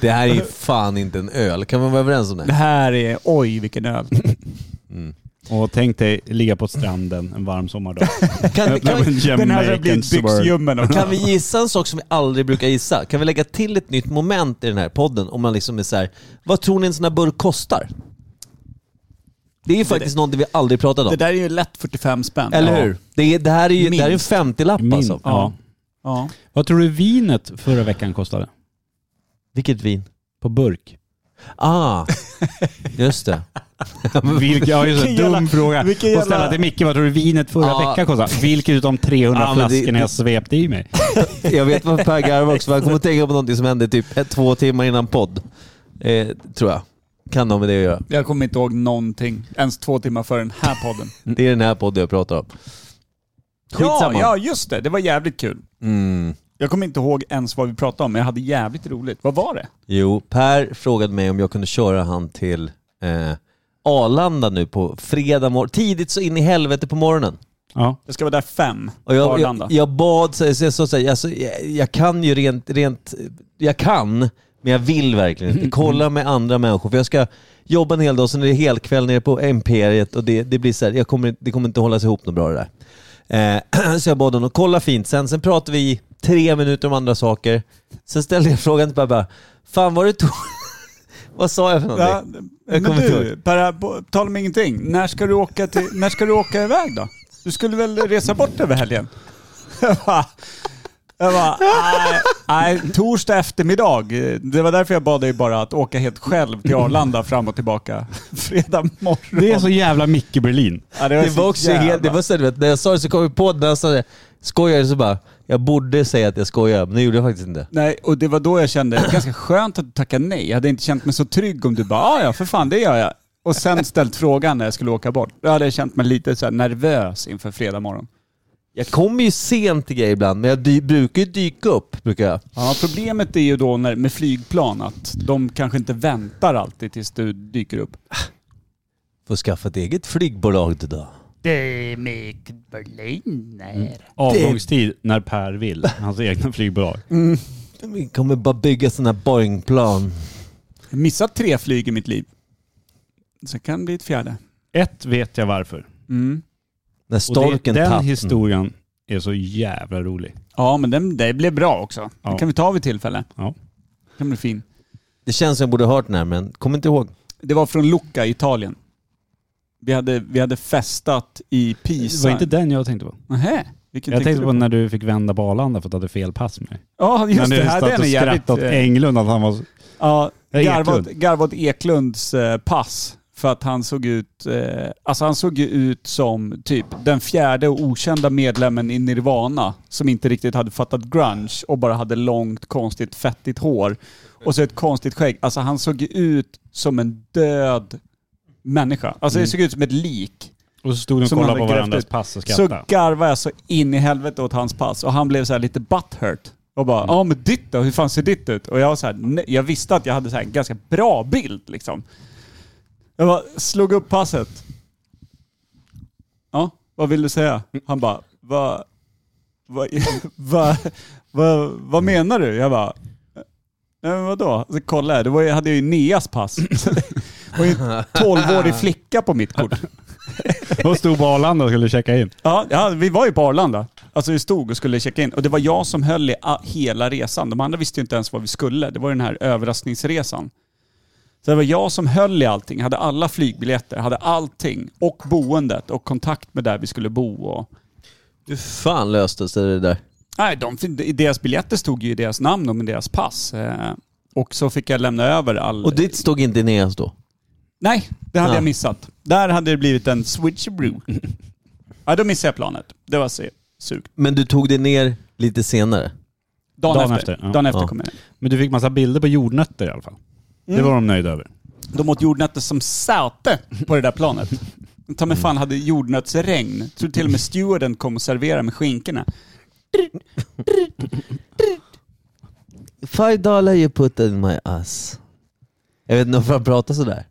Speaker 1: Det här är ju fan inte en öl. Kan man vara överens om
Speaker 3: Det
Speaker 1: det?
Speaker 3: här är, oj vilken öl.
Speaker 2: Och tänk dig ligga på stranden en varm sommardag.
Speaker 1: Kan, kan, vi-
Speaker 3: Den här har blivit byxljummen också.
Speaker 1: kan vi gissa en sak som vi aldrig brukar gissa? Kan vi lägga till ett nytt moment i den här podden? Om man liksom är så här, vad tror ni en sån här burk kostar? Det är ju faktiskt någonting vi aldrig pratat om.
Speaker 3: Det där är ju lätt 45 spänn.
Speaker 1: Eller hur? Det, är, det här är ju det här är en
Speaker 3: Minst.
Speaker 1: 50-lapp alltså.
Speaker 2: ja.
Speaker 3: Ja.
Speaker 2: Vad tror du vinet förra veckan kostade?
Speaker 1: Vilket vin?
Speaker 2: På burk?
Speaker 1: Ah, just det.
Speaker 2: Vilken, ja, just det.
Speaker 3: Vilken jävla-
Speaker 2: Dum fråga. Och
Speaker 3: vilken
Speaker 2: ställa
Speaker 3: jävla-
Speaker 2: till Micke, vad tror du vinet förra
Speaker 1: Ja.
Speaker 2: veckan kostade? Vilket utav de 300
Speaker 1: Ja, men det-
Speaker 2: flaskorna
Speaker 1: det-
Speaker 2: jag svepte i mig?
Speaker 1: Jag vet vad Per garvar också, för han kommer att tänka på någonting som hände typ ett, två timmar innan podd. Eh, tror jag. Kan ha med det att göra.
Speaker 3: Ja. Jag kommer inte ihåg någonting. Ens två timmar före den här podden.
Speaker 1: Det är den här podden jag pratar om.
Speaker 3: Ja,
Speaker 1: Skitsamma.
Speaker 3: ja, just det. Det var jävligt kul.
Speaker 1: Mm.
Speaker 3: Jag kommer inte ihåg ens vad vi pratade om, men jag hade jävligt roligt. Vad var det?
Speaker 1: Jo, Per frågade mig om jag kunde köra han till eh, Arlanda nu på fredag morgon. Tidigt så in i helvete på morgonen.
Speaker 2: Ja.
Speaker 3: Jag ska vara där fem.
Speaker 1: Och jag,
Speaker 3: Arlanda.
Speaker 1: jag, jag bad, så, så, så, så, alltså, jag, jag kan ju rent, rent, jag kan, men jag vill verkligen inte. Kolla med andra människor, för jag ska jobba en hel dag, sen är det helkväll nere på Imperiet och det, det blir så här, jag kommer, det kommer inte hållas ihop något bra det där. Eh, så jag bad honom att kolla fint, sen, sen pratade vi i tre minuter om andra saker. Sen ställde jag frågan till pappa, fan var det to- Vad sa jag för någonting?
Speaker 3: Ja, men
Speaker 1: kommer inte
Speaker 3: du, Per, på tal om ingenting. När ska, du åka till, när ska du åka iväg då? Du skulle väl resa bort över helgen? Jag bara, jag bara, nej, nej, torsdag eftermiddag. Det var därför jag bad dig bara att åka helt själv till Arlanda fram och tillbaka fredag morgon.
Speaker 2: Det är så jävla Micke Berlin.
Speaker 3: Ja, det
Speaker 1: Det
Speaker 3: så
Speaker 1: var också
Speaker 3: jävla-
Speaker 1: helt, det var så, du vet, när jag sa det så kom jag på det, när jag sa det, skojade så bara, jag borde säga att jag skojar, men det gjorde jag faktiskt inte.
Speaker 3: Nej, och det var då jag kände, ganska skönt att du tackade nej. Jag hade inte känt mig så trygg om du bara, "Ah, ja för fan det gör jag. Och sen ställt frågan när jag skulle åka bort. Då hade jag känt mig lite så här nervös inför fredag morgon.
Speaker 1: Jag kommer ju sent till grejer ibland, men jag dy- brukar ju dyka upp. Brukar jag.
Speaker 3: Ja, problemet är ju då när, med flygplan att de kanske inte väntar alltid tills du dyker upp.
Speaker 1: Får skaffa ett eget flygbolag till då.
Speaker 5: Det är Mick Berliner.
Speaker 3: Mm.
Speaker 2: Avgångstid när Per vill. Hans egna flygbolag.
Speaker 1: Vi kommer bara bygga sådana här Boeingplan.
Speaker 3: Jag har missat tre flyg i mitt liv. Så kan det bli ett fjärde.
Speaker 2: Ett vet jag varför.
Speaker 3: Mm.
Speaker 1: När
Speaker 2: Och det,
Speaker 1: storken
Speaker 2: den
Speaker 1: tappar.
Speaker 2: historien är så jävla rolig.
Speaker 3: Ja, men den, det blev bra också.
Speaker 2: Ja.
Speaker 3: Det kan vi ta vid tillfälle.
Speaker 2: Ja.
Speaker 3: Det kan bli fin.
Speaker 1: Det känns som jag borde ha hört den här, men kommer inte ihåg.
Speaker 3: Det var från Lucca i Italien. Vi hade, vi hade festat i Pisa.
Speaker 2: Det var inte den jag tänkte på.
Speaker 3: Nähä, vilken
Speaker 2: Jag tänkte
Speaker 3: du
Speaker 2: på när du fick vända på Arlanda för att du hade fel pass med dig.
Speaker 3: Ja, just
Speaker 2: när
Speaker 3: det.
Speaker 2: du
Speaker 3: Här,
Speaker 2: satt
Speaker 3: den är
Speaker 2: och
Speaker 3: jävligt...
Speaker 2: skrattade åt
Speaker 3: eh,
Speaker 2: Englund att han var... så-
Speaker 3: Ja,
Speaker 2: Nej,
Speaker 3: garvat,
Speaker 2: Eklund.
Speaker 3: garvat Eklunds eh, pass. För att han såg ut... Eh, alltså han såg ju ut som typ den fjärde och okända medlemmen i Nirvana. Som inte riktigt hade fattat grunge och bara hade långt, konstigt, fettigt hår. Och så ett konstigt skägg. Alltså han såg ju ut som en död människa. Alltså
Speaker 2: Mm.
Speaker 3: det såg ut som ett lik.
Speaker 2: Och så stod de och
Speaker 3: Som
Speaker 2: kollade
Speaker 3: hade
Speaker 2: på
Speaker 3: grävt
Speaker 2: varandras
Speaker 3: ut.
Speaker 2: pass och
Speaker 3: Så
Speaker 2: skrattade.
Speaker 3: garvade jag så in i helvete åt hans pass och han blev så här lite butthurt. Och bara, ja men ditt då? Hur fan ser ditt ut? Och jag var så här, nej, jag visste att jag hade så här en ganska bra bild liksom. Jag bara, slog upp passet. Ja, vad vill du säga? Han bara, vad, vad, vad, vad, vad menar du? Jag bara, nej men vadå? Så kollade jag, det var, ju- hade jag ju Neas pass. Så det var ju en 12-årig flicka på mitt kort.
Speaker 2: Och stod på Arlanda och skulle checka in.
Speaker 3: Ja, ja, vi var ju på Arlanda. Alltså vi stod och skulle checka in. Och det var jag som höll i a- hela resan. De andra visste ju inte ens vad vi skulle. Det var ju den här överraskningsresan. Så det var jag som höll i allting. Hade alla flygbiljetter, hade allting. Och boendet och kontakt med där vi skulle bo. Och...
Speaker 1: Hur fan löstes det där?
Speaker 3: Nej, de, i deras biljetter stod ju i deras namn och i deras pass. Eh, Och så fick jag lämna över all...
Speaker 1: Och ditt stod inte Ineas då?
Speaker 3: Nej, det hade
Speaker 1: Ja.
Speaker 3: jag missat. Där hade det blivit en switcheroo. ja, då missade jag planet. Det var se- surt.
Speaker 1: Men du tog det ner lite senare?
Speaker 3: Dagen,
Speaker 2: Dagen
Speaker 3: efter.
Speaker 2: efter, ja.
Speaker 3: Dagen efter
Speaker 1: Ja.
Speaker 3: kommer den.
Speaker 2: Men du fick massa bilder på jordnötter i alla fall. Det
Speaker 3: Mm.
Speaker 2: var de nöjda över.
Speaker 3: De åt jordnötter som säte på det där planet. Ta mig fan hade jordnötsregn. Jag tror till och med stewarden kom och serverade med skinkorna.
Speaker 1: Five dollar you put in my ass. Jag vet inte varför han pratar sådär.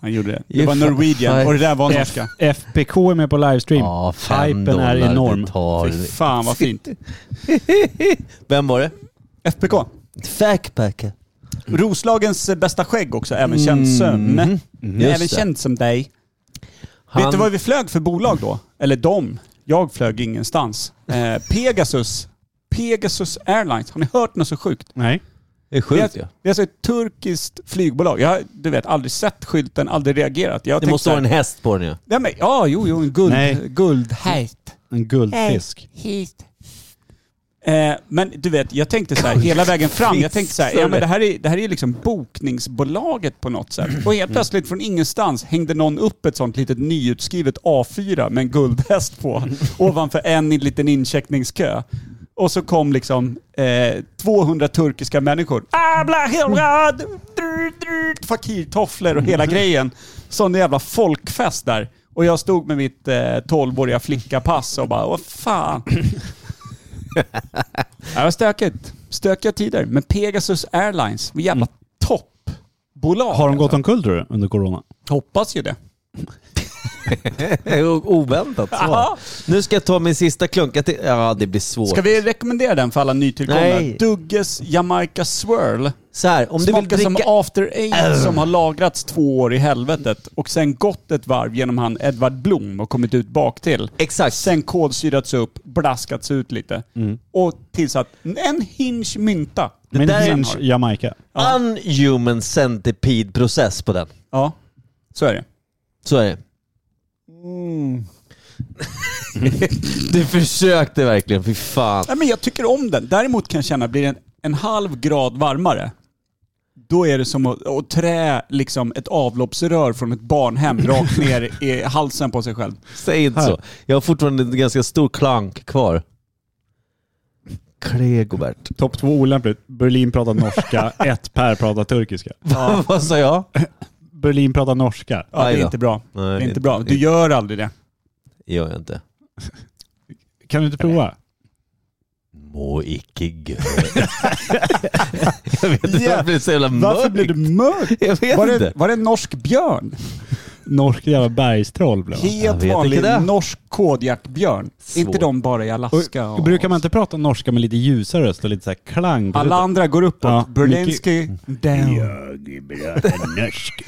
Speaker 3: Han gjorde det. Det
Speaker 1: You
Speaker 3: var
Speaker 1: fa-
Speaker 3: Norwegian
Speaker 1: fa-
Speaker 3: och det där var norska.
Speaker 2: FPK är med på livestream.
Speaker 1: Ja, fem
Speaker 2: Hypen är
Speaker 1: dollar det
Speaker 2: enorm.
Speaker 1: tar.
Speaker 3: Fy fan vad fint.
Speaker 1: Vem var det?
Speaker 3: FPK.
Speaker 1: Fackpacker. Mm.
Speaker 3: Roslagens bästa skägg också, även känd som. Även
Speaker 1: Mm-hmm. det.
Speaker 3: känd som dig.
Speaker 1: Han-
Speaker 3: Vet du vad vi flög för bolag då? Eller de. Jag flög ingenstans. Eh, Pegasus. Pegasus Airlines. Har ni hört något så sjukt?
Speaker 2: Nej.
Speaker 1: Det är sjukt
Speaker 3: det,
Speaker 1: ju.
Speaker 3: är, det är alltså ett turkiskt flygbolag. Jag har du vet, aldrig sett skylten, aldrig reagerat. Jag
Speaker 1: Det måste vara en häst på den ju.
Speaker 3: Ja, men, ja jo, jo, en
Speaker 2: Nej.
Speaker 3: guld, guldhejt.
Speaker 2: En guldfisk.
Speaker 3: Eh, men du vet, jag tänkte så här hela vägen fram. Jag tänkte så här, ja, men det här är det här är liksom bokningsbolaget på något sätt. Och helt plötsligt från ingenstans hängde någon upp ett sånt litet nyutskrivet A4 med en guldhäst på ovanför en i- liten incheckningskö. Och så kom liksom eh, 200 turkiska människor. Abla helra, dr- dr- Fakirtofflor och hela grejen. Sån jävla folkfest där. Och jag stod med mitt eh, 12-åriga flickapass och bara, vad fan. Det var stökigt. Stökiga tider. Men Pegasus Airlines, vad jävla
Speaker 1: Mm.
Speaker 3: toppbolag.
Speaker 2: Har de gått
Speaker 3: alltså.
Speaker 2: omkull tror du under corona?
Speaker 3: Hoppas ju det.
Speaker 1: Oväntat
Speaker 3: Aha.
Speaker 1: så. Nu ska jag ta min sista klunk. Jag tänkte- Ja, det blir svårt.
Speaker 3: Ska vi rekommendera den för alla nytillkomna?
Speaker 1: Nej.
Speaker 3: Dugges Jamaica Swirl.
Speaker 1: Så här, om du vill
Speaker 3: Smakar
Speaker 1: dricka...
Speaker 3: som After Eight som har lagrats två år i helvetet och sen gått ett varv genom han Edvard Blom och kommit ut bak till.
Speaker 1: Exakt.
Speaker 3: Sen kolsyrats upp, blaskats ut lite
Speaker 1: Mm.
Speaker 3: och tillsatt en hinge mynta.
Speaker 2: Men
Speaker 1: där är-
Speaker 2: Hinge Jamaica.
Speaker 3: Ja.
Speaker 1: Unhuman centipede-process på den.
Speaker 3: Ja, så är det.
Speaker 1: Så är det. Mm. du försökte verkligen, fy fan.
Speaker 3: Nej, men jag tycker om den. Däremot kan jag känna, blir den en halv grad varmare, då är det som att, att trä liksom ett avloppsrör från ett barnhem rakt ner i halsen på sig själv.
Speaker 1: Säg inte så. Jag har fortfarande en ganska stor klank kvar. Klä, Gobert.
Speaker 2: Topp två olämpligt. Berlin pratar norska, ett Per pratar turkiska.
Speaker 1: Vad sa jag?
Speaker 2: Berlin pratar norska.
Speaker 3: Ja, det
Speaker 1: Aj
Speaker 3: är
Speaker 1: då.
Speaker 3: inte bra.
Speaker 1: Nej,
Speaker 3: Det är inte
Speaker 1: inte-
Speaker 3: bra. Du gör aldrig det.
Speaker 1: Det gör jag inte.
Speaker 2: Kan du inte prova?
Speaker 1: Må icke gö. Jag vet inte varför det är så jävla
Speaker 3: Varför
Speaker 1: mörkt.
Speaker 3: blev du mörk?
Speaker 1: Jag vet
Speaker 3: Var
Speaker 1: inte.
Speaker 3: det, var det en norsk björn?
Speaker 2: Norsk jävla bergstroll blev han.
Speaker 1: Jag
Speaker 3: Helt
Speaker 1: vet
Speaker 3: vanlig
Speaker 1: inte det.
Speaker 3: norsk kodjakbjörn.
Speaker 1: Svårt.
Speaker 3: Inte de bara i Alaska?
Speaker 2: Och Brukar man inte prata norska med lite ljusare röst och lite så här klang? på
Speaker 3: Alla
Speaker 2: slutet?
Speaker 3: andra går uppåt.
Speaker 2: Ja,
Speaker 3: Berlinski
Speaker 1: Mm.
Speaker 3: down.
Speaker 2: norska.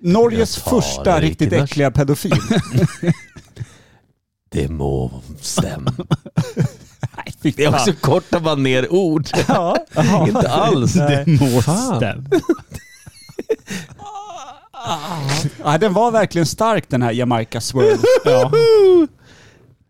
Speaker 3: Norges
Speaker 1: Jag tar
Speaker 3: första
Speaker 1: det,
Speaker 3: riktigt
Speaker 1: Rickard.
Speaker 3: äckliga pedofil.
Speaker 1: Det må stämma. Det
Speaker 3: Det
Speaker 1: är också korta bara ner ord.
Speaker 3: Ja.
Speaker 1: inte alls.
Speaker 2: Det måste.
Speaker 3: Ja, den var verkligen stark den här Jamaica Swirl. Ja.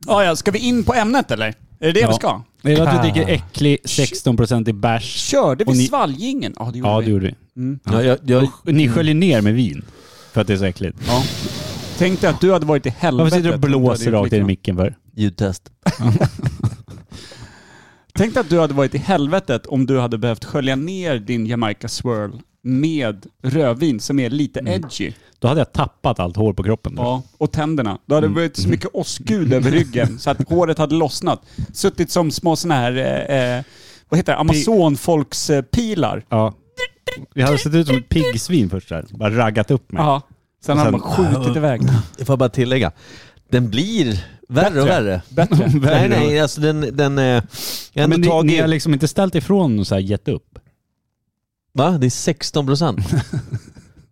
Speaker 3: Ja, ja, ska vi in på ämnet eller? Är det det vi ska?
Speaker 2: Det är att du dricker äcklig 16% i bärs.
Speaker 3: Körde
Speaker 2: Och
Speaker 3: vi
Speaker 2: ni-
Speaker 3: svalgingen? Ja, det gjorde
Speaker 2: Ja,
Speaker 3: vi.
Speaker 2: det gjorde vi.
Speaker 1: Ja, jag, jag,
Speaker 2: Och Ni sköljer ner med vin. För att det är så äckligt.
Speaker 3: Ja. Tänk dig att du hade varit i helvetet.
Speaker 2: Varför sitter du och
Speaker 3: om du
Speaker 2: blåser
Speaker 3: hade gjort liksom.
Speaker 2: rakt in i
Speaker 3: liknande.
Speaker 2: micken för?
Speaker 1: ljudtest.
Speaker 3: Tänk dig att du hade varit i helvetet om du hade behövt skölja ner din Jamaica Swirl med rödvin som är lite
Speaker 2: Mm.
Speaker 3: edgy.
Speaker 2: Då hade jag tappat allt hår på kroppen. då.
Speaker 3: Ja, och tänderna. Då hade det varit
Speaker 2: Mm.
Speaker 3: så mycket åskud över ryggen så att håret hade lossnat. Suttit som små sådana här, eh, eh, vad heter det, eh, Amazonfolkspilar.
Speaker 2: Ja. Jag hade sett ut som ett piggsvin först där. Bara raggat upp mig.
Speaker 3: Ja. Sen hade man skjutit iväg.
Speaker 1: Jag får bara tillägga. Den blir värre och värre.
Speaker 3: Bättre.
Speaker 1: Nej, nej, alltså den... den eh, jag har
Speaker 2: Men
Speaker 1: ändå
Speaker 2: ni,
Speaker 1: tagit...
Speaker 2: ni har liksom inte ställt ifrån och så här gett upp?
Speaker 1: Va? Det är 16 procent.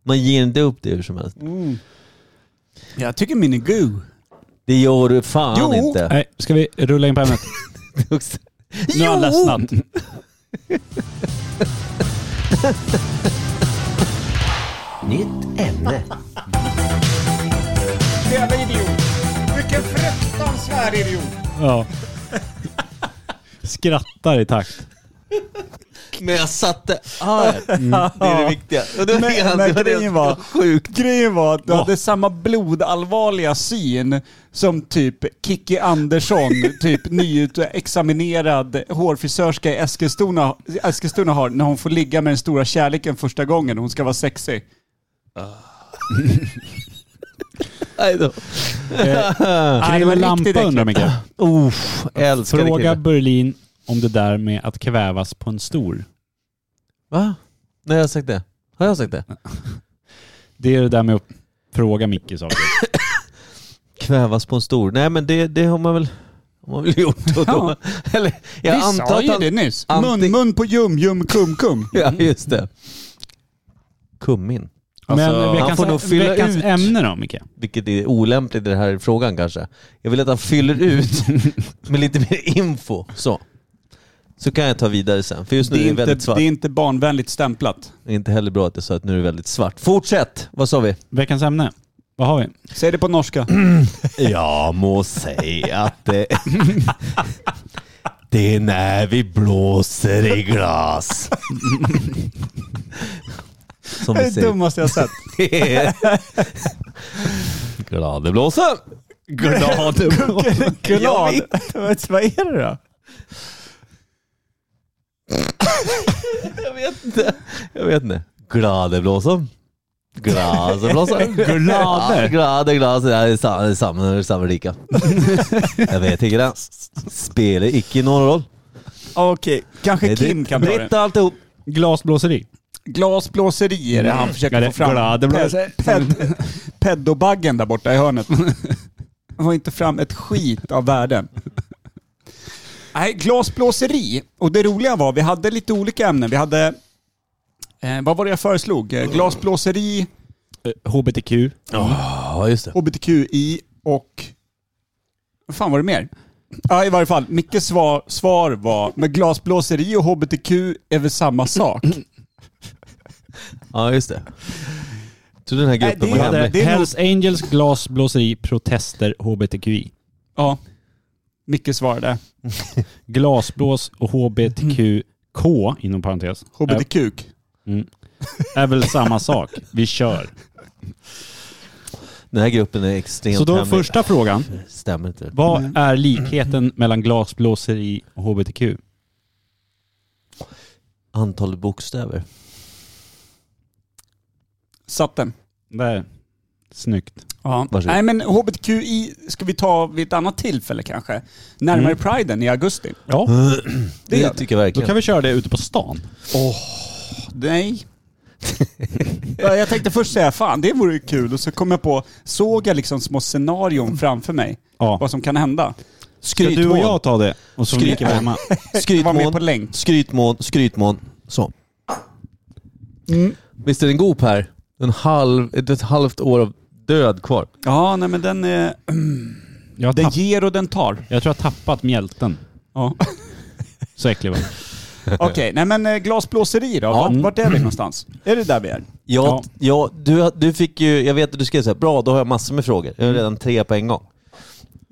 Speaker 1: Man ger inte upp det hur som helst.
Speaker 3: Jag tycker min är god.
Speaker 1: Det gör du fan
Speaker 3: Jo.
Speaker 1: inte.
Speaker 2: Nej, ska vi rulla in på ämnet?
Speaker 3: Nu har han ledsnat.
Speaker 6: Nytt ämne.
Speaker 3: Jävla idiot. Vilken fruktansvärd idiot.
Speaker 2: Ja. Skrattar i takt.
Speaker 1: Men jag satte arm. Det är det viktiga. Och det var
Speaker 3: Men-
Speaker 1: helt-
Speaker 3: men
Speaker 1: det var
Speaker 3: grejen
Speaker 1: helt
Speaker 3: var-
Speaker 1: Sjukt.
Speaker 3: Grejen var att du hade samma blodallvarliga syn som typ Kiki Andersson, typ nyutexaminerad hårfrisörska i Eskilstuna, Eskilstuna har när hon får ligga med den stora kärleken första gången. Hon ska vara sexig.
Speaker 1: Nej då.
Speaker 3: Nej, det var
Speaker 2: Kräver
Speaker 3: riktigt
Speaker 2: lampa
Speaker 3: äckligt.
Speaker 2: undrar Micke.
Speaker 1: Uff, älskade
Speaker 2: Fråga
Speaker 1: kille.
Speaker 2: Berlin om det där med att kvävas på en stor.
Speaker 1: Va? Nej jag har sagt det. Har jag sagt det?
Speaker 2: Det är det där med att fråga Micke saker.
Speaker 1: Kvävas på en stor. Nej men det, det har man väl, har man väl gjort då. och då. Eller jag
Speaker 3: Vi
Speaker 1: antar
Speaker 3: sa
Speaker 1: att
Speaker 3: ju
Speaker 1: han...
Speaker 3: det nyss.
Speaker 1: anti-
Speaker 3: Mun, mun på ljum, ljum, kum, kum.
Speaker 1: Ja just det. Kummin.
Speaker 2: Men
Speaker 1: Alltså, han
Speaker 2: veckans,
Speaker 1: får nog fylla
Speaker 2: veckans
Speaker 1: ut.
Speaker 2: ämne då Micke?
Speaker 1: Vilket är olämpligt i den här frågan kanske. Jag vill att han fyller ut med lite mer info. Så. Så kan jag ta vidare sen. För just nu är
Speaker 3: Det är,
Speaker 1: det
Speaker 3: inte,
Speaker 1: väldigt svart.
Speaker 3: det är inte barnvänligt stämplat.
Speaker 1: Det är inte heller bra att jag sa att nu är det väldigt svart. Fortsätt! Vad sa vi?
Speaker 2: Veckans ämne. Vad har vi?
Speaker 3: Säg det på norska.
Speaker 1: Jag må säga att det... Det är när vi blåser i glas. Som
Speaker 3: Det
Speaker 1: vi
Speaker 3: är det
Speaker 1: säger.
Speaker 3: dummaste jag sett.
Speaker 1: Det är... Glade blåsen! Glade blåsen.
Speaker 3: Glad. Vad är det då?
Speaker 1: Jag vet inte. Jag vet inte. Glade blåsen. Glade blåsen.
Speaker 2: Glade.
Speaker 1: Ja, glade, glade. Det är samma, det är samma, det är samma lika. Jag vet inte det. Spelar icke någon roll.
Speaker 3: Okej, kanske
Speaker 1: Nej, det-
Speaker 3: Kim kan ta det.
Speaker 1: Britta alltihop.
Speaker 2: Glasblåseri.
Speaker 3: Glasblåseri är det han försöker
Speaker 2: Ja, det-
Speaker 3: få fram.
Speaker 2: gladeblås-
Speaker 3: Ped- ped- Peddobaggen där borta i hörnet. Han får inte fram ett skit av världen. Nej, glasblåseri. Och det roliga var, vi hade lite olika ämnen. Vi hade, eh, vad var det jag föreslog? Eh, Glasblåseri,
Speaker 2: HBTQ.
Speaker 1: Ja, just det.
Speaker 3: hbtqi och... Vad fan var det mer? Ja, i varje fall. Mickes svar, svar var, men glasblåseri och hbtq är väl samma sak?
Speaker 1: Ja, just det. Så den här gruppen
Speaker 3: Nej,
Speaker 1: var
Speaker 3: det-
Speaker 2: hade
Speaker 1: hemlig.
Speaker 3: det är nog-
Speaker 2: Hells Angels, glasblåseri, protester, HBTQI.
Speaker 3: Ja. Micke svarade.
Speaker 2: Glasblås och HBTQK inom parentes. Är,
Speaker 3: Hbtq.
Speaker 2: är väl samma sak. Vi kör.
Speaker 1: Den här gruppen är extremt
Speaker 2: Så då
Speaker 1: hemlig.
Speaker 2: första frågan.
Speaker 1: Stämmer inte.
Speaker 2: Vad är likheten mellan glasblåseri och HBTQ?
Speaker 1: Antalet bokstäver.
Speaker 3: Satt den.
Speaker 2: Där. Snyggt.
Speaker 3: Ja.
Speaker 1: Varsågod.
Speaker 3: Nej men hbtqi ska vi ta vid ett annat tillfälle kanske. Närmare priden i augusti.
Speaker 2: Ja,
Speaker 1: Det,
Speaker 3: gör vi.
Speaker 1: tycker jag
Speaker 2: då
Speaker 1: verkligen.
Speaker 2: kan vi köra det ute på stan.
Speaker 3: Nej. Ja, jag tänkte först säga fan det vore ju kul och så kom jag på, såg jag liksom små scenarion framför mig.
Speaker 2: Ja.
Speaker 3: Vad som kan hända.
Speaker 2: Ska du och
Speaker 1: Skrytmån.
Speaker 2: jag ta det? Och så får
Speaker 1: Skryt-
Speaker 2: Micke vara hemma.
Speaker 3: Var med på
Speaker 1: Skrytmån.
Speaker 3: länk.
Speaker 1: Skrytmån. Skrytmån. Så. Visst är den god Per? En halv, ett, ett halvt år av död kvar.
Speaker 3: Ja nej men den, eh,
Speaker 2: Jag, har
Speaker 3: den
Speaker 2: tapp,
Speaker 3: ger och den tar.
Speaker 2: jag tror jag har tappat mjälten.
Speaker 3: Ja.
Speaker 2: Så äcklig var den.
Speaker 3: Okej, nej men eh, glasblåseri då. Vart, vart är vi någonstans? Är det där vi är?
Speaker 1: Jag,
Speaker 2: Ja.
Speaker 1: ja. jag, du, du fick ju, jag vet att du skrev så här, bra då har jag massor med frågor. Jag har redan tre på en gång.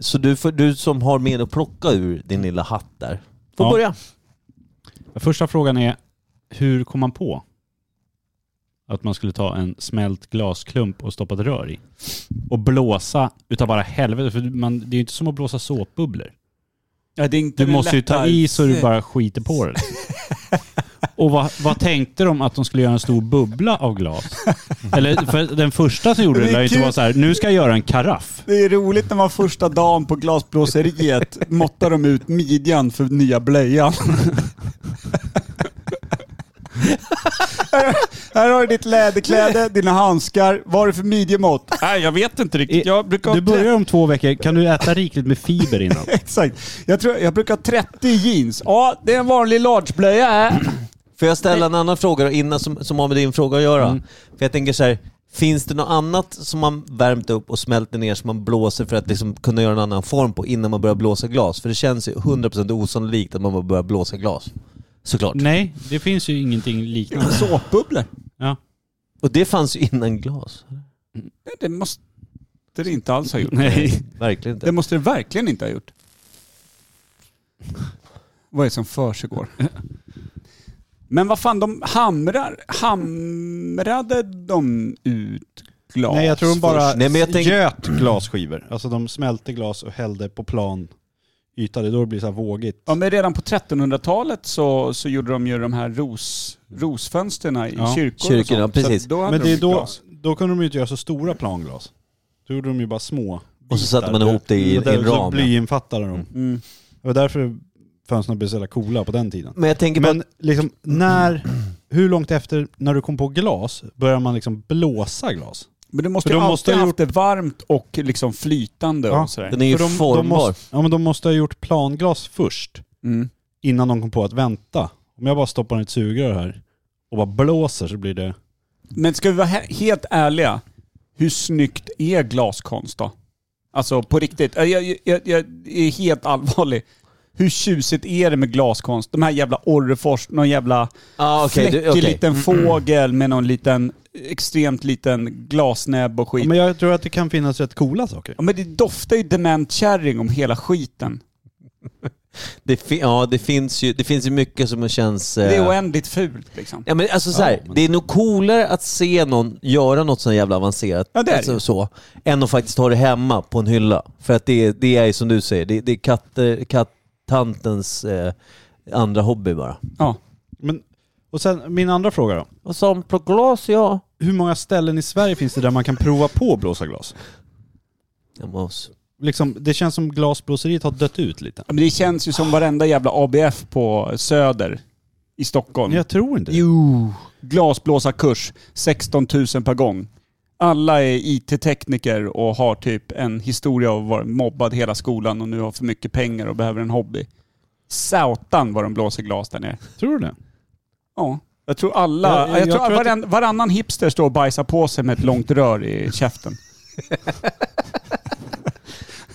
Speaker 1: Så du, får, du som har mer att plocka ur din lilla hatt där, får
Speaker 2: Ja.
Speaker 1: börja.
Speaker 2: Första frågan är, hur kom man på att man skulle ta en smält glasklump och stoppa ett rör i? Och blåsa utav bara helvete, för man, det är ju inte som att blåsa såpbubblor.
Speaker 3: Ja, det är inte
Speaker 2: Du
Speaker 3: den
Speaker 2: måste ju ta
Speaker 3: lätta-
Speaker 2: i så du bara skiter på det. Och vad, vad tänkte de att de skulle göra en stor bubbla av glas? Eller för den första som gjorde det
Speaker 3: Det är
Speaker 2: lär ju inte
Speaker 3: kul.
Speaker 2: vara så här, nu ska jag göra en karaff.
Speaker 3: Det är roligt när man första dagen på glasblåseriet måttar de ut midjan för nya blöjan. här, här har du ditt läderkläde, dina handskar. Vad har du för midjemått? Nej, jag vet inte riktigt.
Speaker 2: Du börjar om två veckor, kan du äta rikligt med fiber innan?
Speaker 3: Exakt. Jag, tror, jag brukar ha 30 jeans. Ja, det är en vanlig largeblöja här.
Speaker 1: Får jag ställa en annan fråga då innan som, som har med din fråga att göra?
Speaker 2: Mm.
Speaker 1: För jag tänker så här, finns det något annat som man värmt upp och smälter ner som man blåser för att liksom kunna göra en annan form på innan man börjar blåsa glas? För det känns ju 100% osannolikt att man bara börjar blåsa glas. Såklart.
Speaker 2: Nej, det finns ju ingenting liknande.
Speaker 3: Såpbubblor?
Speaker 2: Ja.
Speaker 1: Och det fanns ju innan glas.
Speaker 3: Nej, Det måste det inte alls ha gjort.
Speaker 2: Nej.
Speaker 1: Verkligen inte.
Speaker 3: Det måste det verkligen inte ha gjort. Vad är det som försiggår? Men vad fan, de hamrar. Hamrade de ut glas?
Speaker 2: Nej, jag tror de bara
Speaker 1: Nej, men jag tänk-
Speaker 2: göt glasskivor. Alltså de smälte glas och hällde på plan yta. Det är då det blir så här vågigt.
Speaker 3: Ja, men redan på 1300-talet så, så gjorde de ju de här ros, rosfönstren i
Speaker 2: Ja.
Speaker 3: kyrkor.
Speaker 1: Kyrkorna,
Speaker 3: och sånt.
Speaker 1: precis.
Speaker 3: Så då hade
Speaker 2: Men
Speaker 3: de
Speaker 2: det är
Speaker 3: ju
Speaker 2: då,
Speaker 3: glas.
Speaker 2: då kunde de ju inte göra så stora planglas. Då gjorde de ju bara små.
Speaker 1: Och så satte
Speaker 2: bitar.
Speaker 1: man ihop det i
Speaker 2: Och där-
Speaker 1: en
Speaker 2: så
Speaker 1: ram, ja.
Speaker 2: Blyinfattade de.
Speaker 3: Mm.
Speaker 2: Det var därför fönstren blev så jävla coola på den tiden.
Speaker 1: Men jag tänker på
Speaker 2: Men liksom när, hur långt efter, när du kom på glas, började man liksom blåsa glas?
Speaker 3: Men du måste
Speaker 2: För
Speaker 3: ju
Speaker 2: de
Speaker 3: alltid
Speaker 2: måste ha
Speaker 3: haft
Speaker 2: gjort-
Speaker 3: det varmt och liksom flytande
Speaker 2: Ja.
Speaker 3: och sådär.
Speaker 1: att den är ju
Speaker 2: För de- de
Speaker 1: formbar.
Speaker 2: måste- Ja men de måste ha gjort planglas först,
Speaker 3: Mm.
Speaker 2: innan de kom på att vänta. Om jag bara stoppar i ett sugrör här och bara blåser så blir det...
Speaker 3: Men ska vi vara he- helt ärliga, hur snyggt är glaskonst då? Alltså på riktigt, jag, jag, jag, jag är helt allvarlig. Hur tjusigt är det med glaskonst? De här jävla Orrefors, någon jävla
Speaker 1: Ah, okej, du-
Speaker 3: fläckig
Speaker 1: okej. mm.
Speaker 3: liten fågel med någon liten, extremt liten glasnäbb och skit.
Speaker 2: Ja, men jag tror att det kan finnas rätt coola saker.
Speaker 3: Ja men det doftar ju dement kärring om hela skiten.
Speaker 1: Det, fi- ja, det, finns ju, det finns ju mycket som känns... eh,
Speaker 3: Det är oändligt fult liksom.
Speaker 1: Ja, men alltså så här,
Speaker 2: Ja, men-
Speaker 1: Det är nog coolare att se någon göra något så jävla avancerat
Speaker 3: Ja, det är det ju.
Speaker 1: alltså, så, än att faktiskt ha det hemma på en hylla. För att det, är- det är ju som du säger, det, det är katter, kattantens eh, andra hobby bara.
Speaker 3: Ja.
Speaker 2: Men, och sen min andra fråga då.
Speaker 1: Och som på glas, ja.
Speaker 2: Hur många ställen i Sverige finns det där man kan prova på att blåsa glas?
Speaker 1: Hemma hos.
Speaker 2: Liksom, det känns som glasblåseriet har dött ut lite.
Speaker 3: Ja, Men det känns ju som varenda jävla ABF på Söder i Stockholm.
Speaker 2: Men jag tror inte det.
Speaker 3: Jo! Glasblåsarkurs, 16 000 per gång. Alla är IT-tekniker och har typ en historia av att vara mobbad hela skolan och nu har för mycket pengar och behöver en hobby. Sautan vad de blåser glas där nere.
Speaker 2: Tror du det?
Speaker 3: Ja. Jag tror alla,
Speaker 2: Ja,
Speaker 3: jag,
Speaker 2: jag
Speaker 3: tror
Speaker 2: tror att-
Speaker 3: varann, varannan hipster står och bajsar på sig med ett långt rör i käften.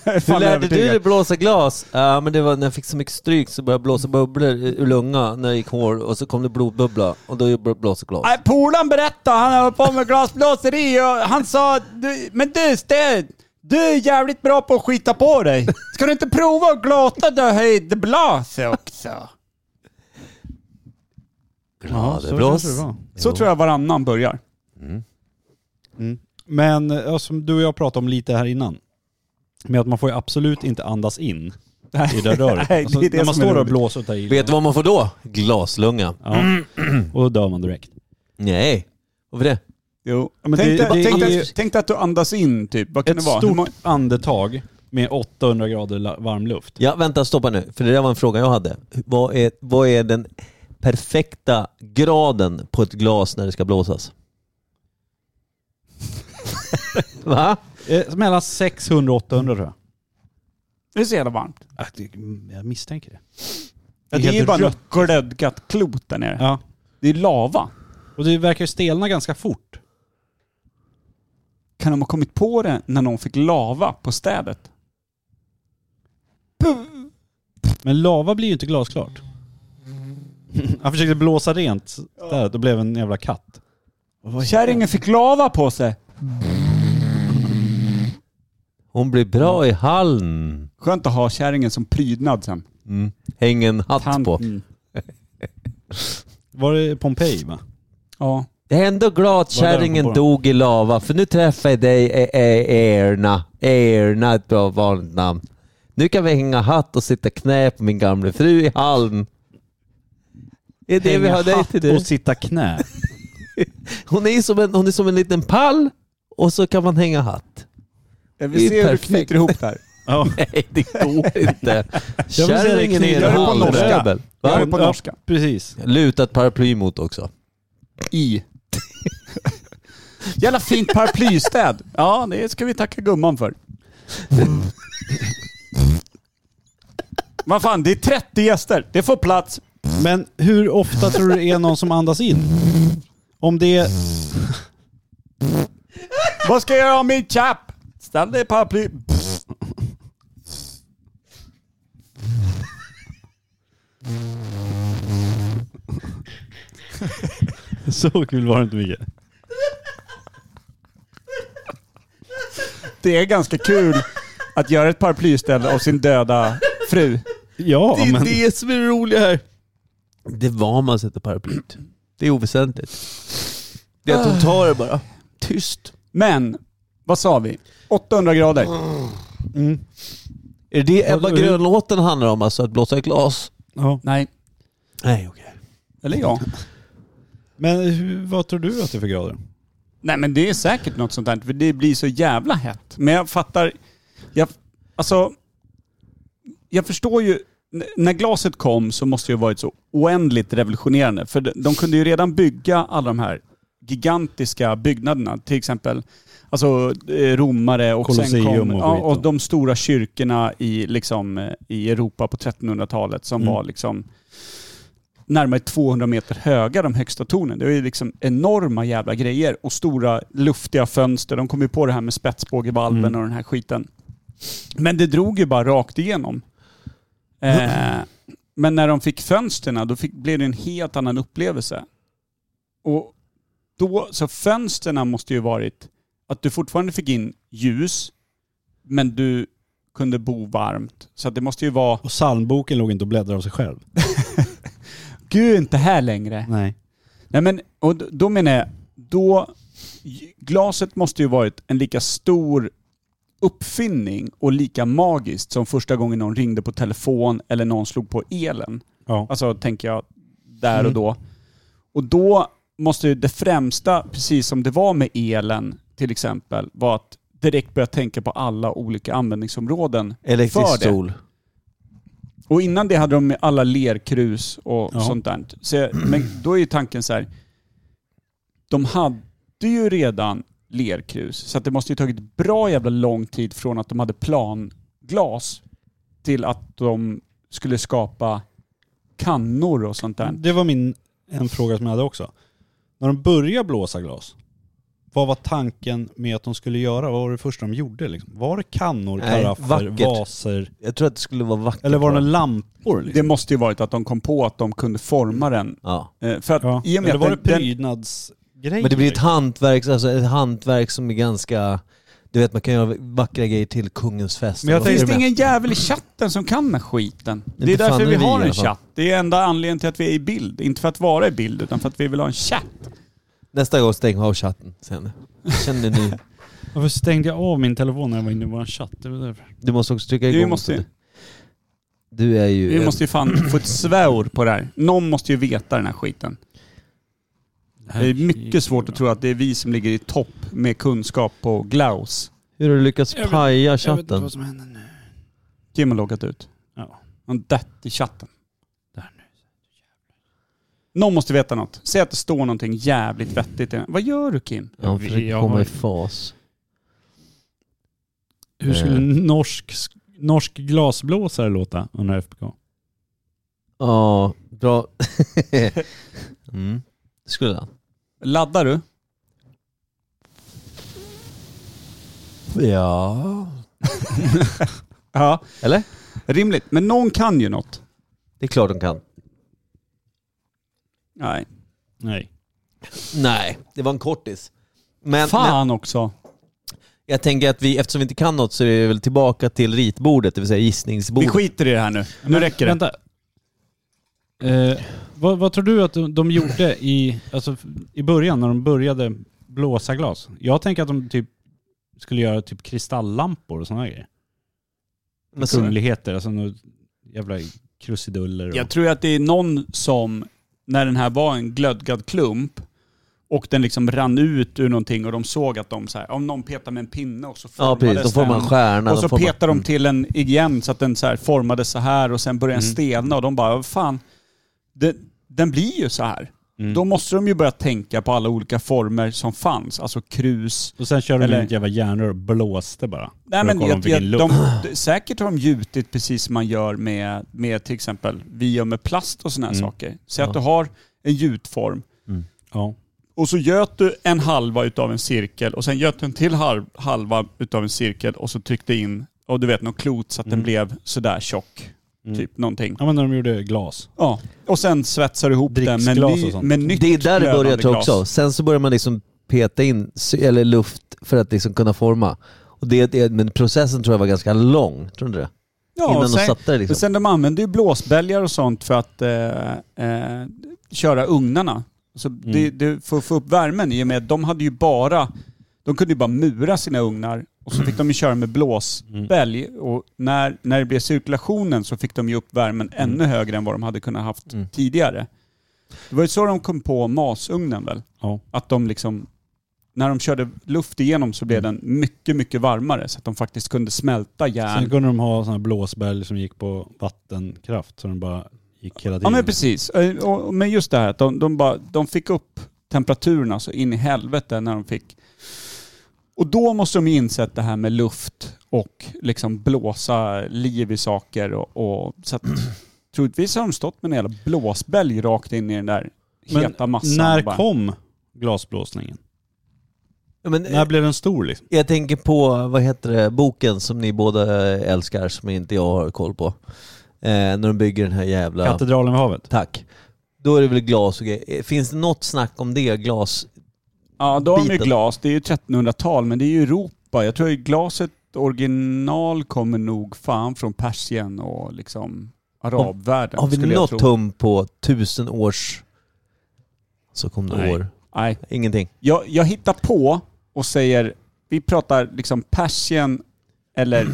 Speaker 3: Jag
Speaker 1: Hur
Speaker 3: är fan
Speaker 1: lärde du
Speaker 3: övertygad.
Speaker 1: dig blåsa glas? Ja, men det var när jag fick så mycket stryk så började jag blåsa bubblor i- ur lunga när jag gick hår och så kom det blodbubbla och då började jag blåsa glas.
Speaker 3: Nej, polaren berättade, han höll på med glasblåseri och han sa du, Men du Sten, du är jävligt bra på att skita på dig. Ska du inte prova att glata där höjdblas också?
Speaker 1: Ja, det
Speaker 2: så
Speaker 1: blås.
Speaker 2: kanske det var.
Speaker 3: Så tror jag varannan börjar.
Speaker 2: Mm. Men eh, ja, som du och jag pratade om lite här innan. Med att man får ju absolut inte andas in i det där röret.
Speaker 3: Nej, det är
Speaker 2: alltså,
Speaker 3: det
Speaker 2: när man
Speaker 3: som är
Speaker 2: står där och
Speaker 3: roligt.
Speaker 2: blåser och tar i.
Speaker 1: Vet du vad man får då? Glaslunga.
Speaker 2: Ja. Och då dör man direkt.
Speaker 1: Nej. Varför det?
Speaker 3: Jo.
Speaker 2: men
Speaker 3: tänk,
Speaker 2: det-
Speaker 3: dig-
Speaker 2: det
Speaker 3: tänk,
Speaker 2: är
Speaker 3: dig-
Speaker 2: ju-
Speaker 3: tänk dig att du andas in typ. Vad kan
Speaker 2: Ett
Speaker 3: det vara? Hur
Speaker 2: stort
Speaker 3: många-
Speaker 2: andetag med 800 grader la- varm luft.
Speaker 1: Ja, vänta, stoppa nu. För det där var en fråga jag hade. Vad är, vad är den perfekta graden på ett glas när det ska blåsas? Va?
Speaker 2: Eh, mellan 600 och 800 tror jag.
Speaker 3: Det är så jävla varmt.
Speaker 2: Ah, det- mm, Jag misstänker det.
Speaker 3: Ja, det är ju bara något glödgat klot där nere.
Speaker 2: Ja.
Speaker 3: Det är lava.
Speaker 2: Och det verkar ju stelna ganska fort.
Speaker 3: Kan de ha kommit på det när någon fick lava på städet?
Speaker 2: Men lava blir ju inte glasklart. Han försökte blåsa rent där, då blev en jävla katt.
Speaker 3: Kärringen fick lava på sig.
Speaker 1: Hon blir bra i hallen.
Speaker 3: Skönt att ha kärringen som prydnad sen.
Speaker 1: Mm. Häng en hatt
Speaker 3: Tant-
Speaker 1: på.
Speaker 3: Mm.
Speaker 2: Var det Pompeji va?
Speaker 3: Ja.
Speaker 1: Jag är ändå glad att
Speaker 2: Vad är det
Speaker 1: kärringen
Speaker 2: på den?
Speaker 1: dog i lava, för nu träffar jag dig, e- e- Erna. Erna är ett bra vanligt namn. Nu kan vi hänga hatt och sitta knä på min gamla fru i hallen. Det är det vi har dig till
Speaker 2: Hänga
Speaker 1: du.
Speaker 2: hatt och sitta knä.
Speaker 1: Hon är, ju som en, hon är som en liten pall och så kan man hänga hatt.
Speaker 3: Jag
Speaker 1: Det
Speaker 3: vill
Speaker 1: är
Speaker 3: se hur du
Speaker 1: perfekt.
Speaker 3: knyter ihop där.
Speaker 2: Ja.
Speaker 1: Nej, det går inte.
Speaker 2: se dig
Speaker 1: Kärringen är
Speaker 2: knyta
Speaker 1: en
Speaker 3: det på norska.
Speaker 1: halvdöbel.
Speaker 3: Jag
Speaker 1: Va?
Speaker 3: är på norska.
Speaker 2: Precis.
Speaker 1: Luta ett paraply mot också.
Speaker 3: I. Jävla fint paraplystäd. Ja, det ska vi tacka gumman för. Vad fan, det är 30 gäster. Det får plats.
Speaker 2: Men hur ofta tror du det är någon som andas in? Om det är...
Speaker 3: Vad ska jag göra av min chapp? Ställ dig i paraply.
Speaker 2: Så kul var det inte mycket.
Speaker 3: Det är ganska kul att göra ett paraplyställ av sin döda fru.
Speaker 2: Ja, men...
Speaker 1: det som är roligt här. Det är var man sätter paraplyet. Det är oväsentligt. Det är att hon tar det bara. Tyst.
Speaker 3: Men, vad sa vi? 800 grader.
Speaker 2: Mm.
Speaker 1: Är det det Ebba Grön-låten handlar om? Alltså att blåsa i glas?
Speaker 2: Ja.
Speaker 3: Nej.
Speaker 1: Nej okej.
Speaker 3: Eller ja.
Speaker 2: Men hur, vad tror du att det är för grader?
Speaker 3: Nej men det är säkert något sånt där, för det blir så jävla hett. Men jag fattar, jag, alltså, jag förstår ju, n- när glaset kom så måste det ju ha varit så oändligt revolutionerande. För de, de kunde ju redan bygga alla de här gigantiska byggnaderna. Till exempel alltså, eh, romare och sen
Speaker 2: Colosseum
Speaker 3: kom,
Speaker 2: och
Speaker 3: ja,
Speaker 2: skit
Speaker 3: och
Speaker 2: då.
Speaker 3: de stora kyrkorna i, liksom, eh, i Europa på 1300-talet som
Speaker 2: Mm.
Speaker 3: var liksom närmare 200 meter höga, de högsta tornen. Det var ju liksom enorma jävla grejer och stora luftiga fönster. De kom ju på det här med spetsbågevalven
Speaker 2: Mm.
Speaker 3: och den här skiten. Men det drog ju bara rakt igenom. Eh, men när de fick fönsterna, då fick, blev det en helt annan upplevelse. Och då, så fönsterna måste ju varit att du fortfarande fick in ljus, men du kunde bo varmt. Så att det måste ju vara,
Speaker 2: Och psalmboken låg inte och bläddrade av sig själv.
Speaker 3: gud inte här längre.
Speaker 2: Nej.
Speaker 3: Nej men, och d- då menar jag, då, glaset måste ju varit en lika stor uppfinning och lika magiskt som första gången någon ringde på telefon eller någon slog på elen.
Speaker 2: Ja.
Speaker 3: Alltså tänker jag där och då. Och då måste ju det främsta, precis som det var med elen till exempel, var att direkt börja tänka på alla olika användningsområden
Speaker 1: Elektrisk
Speaker 3: för det.
Speaker 1: stol.
Speaker 3: Och innan det hade de med alla lerkrus och
Speaker 2: Ja.
Speaker 3: sånt där. Så, jag- men då är ju tanken så här. De hade ju redan lerkrus, så att det måste ju tagit bra jävla lång tid från att de hade planglas till att de skulle skapa kannor och sånt där.
Speaker 2: Det var min, en fråga som jag hade också. När de började blåsa glas, vad var tanken med att de skulle göra? Vad var det första de gjorde? Liksom? Var det kannor,
Speaker 1: Nej,
Speaker 2: karaffer,
Speaker 1: vackert.
Speaker 2: vaser?
Speaker 1: Jag tror att det skulle vara vackert.
Speaker 2: Eller var det
Speaker 1: bara.
Speaker 2: några lampor? Liksom?
Speaker 3: Det måste ju varit att de kom på att de kunde forma den.
Speaker 1: Ja.
Speaker 3: Eh, För att
Speaker 2: ja.
Speaker 3: i och med
Speaker 2: Eller var det
Speaker 3: att den, den,
Speaker 2: prydnadsgrejer?
Speaker 1: Men det blir ett hantverk, alltså ett hantverk som är ganska... Du vet man kan göra vackra grejer till kungens fest.
Speaker 2: Men jag
Speaker 1: Vad
Speaker 2: tänker-
Speaker 1: är
Speaker 3: Finns
Speaker 1: det
Speaker 3: det
Speaker 1: med?
Speaker 3: ingen jävel i chatten som kan den här skiten? Det är
Speaker 1: Inte
Speaker 3: därför
Speaker 1: fan
Speaker 3: vi
Speaker 1: är vi
Speaker 3: har
Speaker 1: i
Speaker 3: en
Speaker 1: alla fall.
Speaker 3: chatt. Det är enda anledningen till att vi är i bild. Inte för att vara i bild, utan för att vi vill ha en chatt.
Speaker 1: Nästa gång stäng av chatten sen. Känner ni?
Speaker 2: Varför stängde jag av min telefon när jag var inne i vår chatt? Det var därför.
Speaker 1: Du måste också trycka
Speaker 3: Vi
Speaker 1: igång.
Speaker 3: måste ju-
Speaker 1: Du är ju...
Speaker 3: Vi
Speaker 1: en-
Speaker 3: måste ju fan få ett svår på det här. Någon måste ju veta den här skiten. Det är mycket svårt att tro att det är vi som ligger i topp med kunskap på Glaus.
Speaker 1: Hur har du lyckats
Speaker 2: Jag vet-
Speaker 1: paja
Speaker 2: Jag vet inte
Speaker 1: chatten?
Speaker 2: vad som händer nu.
Speaker 3: Kim har loggat ut.
Speaker 2: Ja.
Speaker 3: Han dött i chatten.
Speaker 2: Där nu.
Speaker 3: Någon måste veta något. Säg att det står någonting jävligt vettigt i den. Vad gör du Kim?
Speaker 1: Han
Speaker 2: Vi-
Speaker 1: försöker
Speaker 2: jag
Speaker 1: komma
Speaker 2: har-
Speaker 1: i fas.
Speaker 2: Hur skulle
Speaker 1: Eh.
Speaker 2: norsk, norsk glasblåsare låta under FPK?
Speaker 1: Ja, bra. mm. Det skulle han.
Speaker 3: Laddar du?
Speaker 1: Ja.
Speaker 3: Ja.
Speaker 1: Eller?
Speaker 3: Rimligt. Men någon kan ju något.
Speaker 1: Det är klart de kan.
Speaker 3: Nej.
Speaker 2: Nej.
Speaker 1: Nej, det var en kortis. Men, men
Speaker 3: Fan också.
Speaker 1: jag tänker att vi, eftersom vi inte kan något så är det väl tillbaka till ritbordet, det vill säga
Speaker 3: Vi
Speaker 1: gissningsbordet.
Speaker 3: skiter i det här nu. Nu räcker det.
Speaker 2: Vänta. Eh, vad, vad tror du att de, de gjorde i, alltså, f- i början när de började blåsa glas? Jag tänker att de typ skulle göra typ kristallampor och sådana grejer.
Speaker 1: Men så-
Speaker 3: Mm.
Speaker 2: Kungligheter, alltså några jävla krusiduller. Och,
Speaker 3: Jag tror att det är någon som, när den här var en glödgad klump och den liksom rann ut ur någonting och de såg att de så här, om någon petar med en pinne och så
Speaker 1: Ja
Speaker 3: formades
Speaker 1: precis, då får man
Speaker 3: den.
Speaker 1: stjärna.
Speaker 3: Och
Speaker 1: då
Speaker 3: så
Speaker 1: får man- Mm.
Speaker 3: petar de till en igen så att den så här formades så här och sen börjar den
Speaker 2: Mm.
Speaker 3: stelna och de bara, "Vad fan, det, den blir ju så här.
Speaker 2: mm.
Speaker 3: Då måste de ju börja tänka på alla olika former som fanns, alltså krus,
Speaker 2: och sen körde de
Speaker 3: eller-
Speaker 2: in ett jävla järnrör och blåste bara. För
Speaker 3: Nej
Speaker 2: att
Speaker 3: men
Speaker 2: kolla om
Speaker 3: jag,
Speaker 2: fick
Speaker 3: jag,
Speaker 2: in
Speaker 3: de,
Speaker 2: luft.
Speaker 3: de- säkert har de gjutit precis som man gör med, med till exempel, vi gör med plast och sådana här
Speaker 2: Mm.
Speaker 3: saker. Så att
Speaker 1: Ja.
Speaker 3: du har en gjutform
Speaker 2: Ja.
Speaker 3: och så göt du en halva utav en cirkel och sen göt du en till halv, halva utav en cirkel och så tryckte in, och du vet något klot så att den
Speaker 2: Mm.
Speaker 3: blev sådär tjock. Typ någonting.
Speaker 2: ja men när de gjorde glas.
Speaker 3: Ja. Och sen svetsar du ihop den med,
Speaker 2: Dricksglas och
Speaker 3: ny,
Speaker 2: sånt.
Speaker 3: med nytt
Speaker 1: Mm. Det är där det börjar
Speaker 3: glödande
Speaker 1: tror jag
Speaker 3: glas.
Speaker 1: också. Sen så börjar man liksom peta in sy- eller luft för att liksom kunna forma. Och det, det, men processen tror jag var ganska lång, tror du inte det?
Speaker 3: Ja,
Speaker 1: innan
Speaker 3: och sen,
Speaker 1: de satte det liksom.
Speaker 3: och sen de använde ju blåsbälgar och sånt för att eh, eh, köra ugnarna. Så
Speaker 1: Mm.
Speaker 3: det, det, för att få upp värmen i och med att de hade ju bara, de kunde ju bara mura sina ugnar och så fick de ju köra med blåsbälg
Speaker 1: Mm.
Speaker 3: och när, när det blev cirkulationen så fick de ju upp värmen ännu högre än vad de hade kunnat haft
Speaker 1: Mm.
Speaker 3: tidigare. Det var ju så de kom på masugnen väl?
Speaker 2: Ja.
Speaker 3: Att de liksom, när de körde luft igenom så blev
Speaker 1: Mm.
Speaker 3: den mycket, mycket varmare så att de faktiskt kunde smälta järn
Speaker 2: Sen kunde de ha sådana blåsbälg som gick på vattenkraft så den bara gick hela
Speaker 3: Ja
Speaker 2: tiden.
Speaker 3: men precis. Eh, och- och- Men just det här att de, de, bara, de fick upp temperaturerna så in i helvete när de fick... Och då måste de ju insett det här med luft och liksom blåsa liv i saker och, och så att troligtvis har de stått med en jävla blåsbälg rakt in i den där
Speaker 2: Men
Speaker 3: heta massan.
Speaker 2: När
Speaker 3: och bara-
Speaker 2: kom glasblåsningen?
Speaker 1: Ja, men, eh,
Speaker 2: När blev den stor liksom?
Speaker 1: Jag tänker på, vad heter det, boken som ni båda älskar som inte jag har koll på. Eh, när de bygger den här jävla...
Speaker 2: Katedralen vid havet?
Speaker 1: Tack. Då är det väl glas och grejer. Eh, Finns det något snack om det? Glas?
Speaker 3: Ja, då har de ju
Speaker 1: biten?
Speaker 3: glas. Det är ju 1300-tal, men det är ju Europa. Jag tror ju glaset original kommer nog fan från Persien och liksom arabvärlden.
Speaker 1: Har vi
Speaker 3: skulle jag
Speaker 1: något
Speaker 3: tro.
Speaker 1: tum på tusen års... Så kom det
Speaker 2: Nej.
Speaker 1: år.
Speaker 3: Nej,
Speaker 1: Ingenting.
Speaker 3: Jag, jag hittar på och säger, vi pratar liksom Persien eller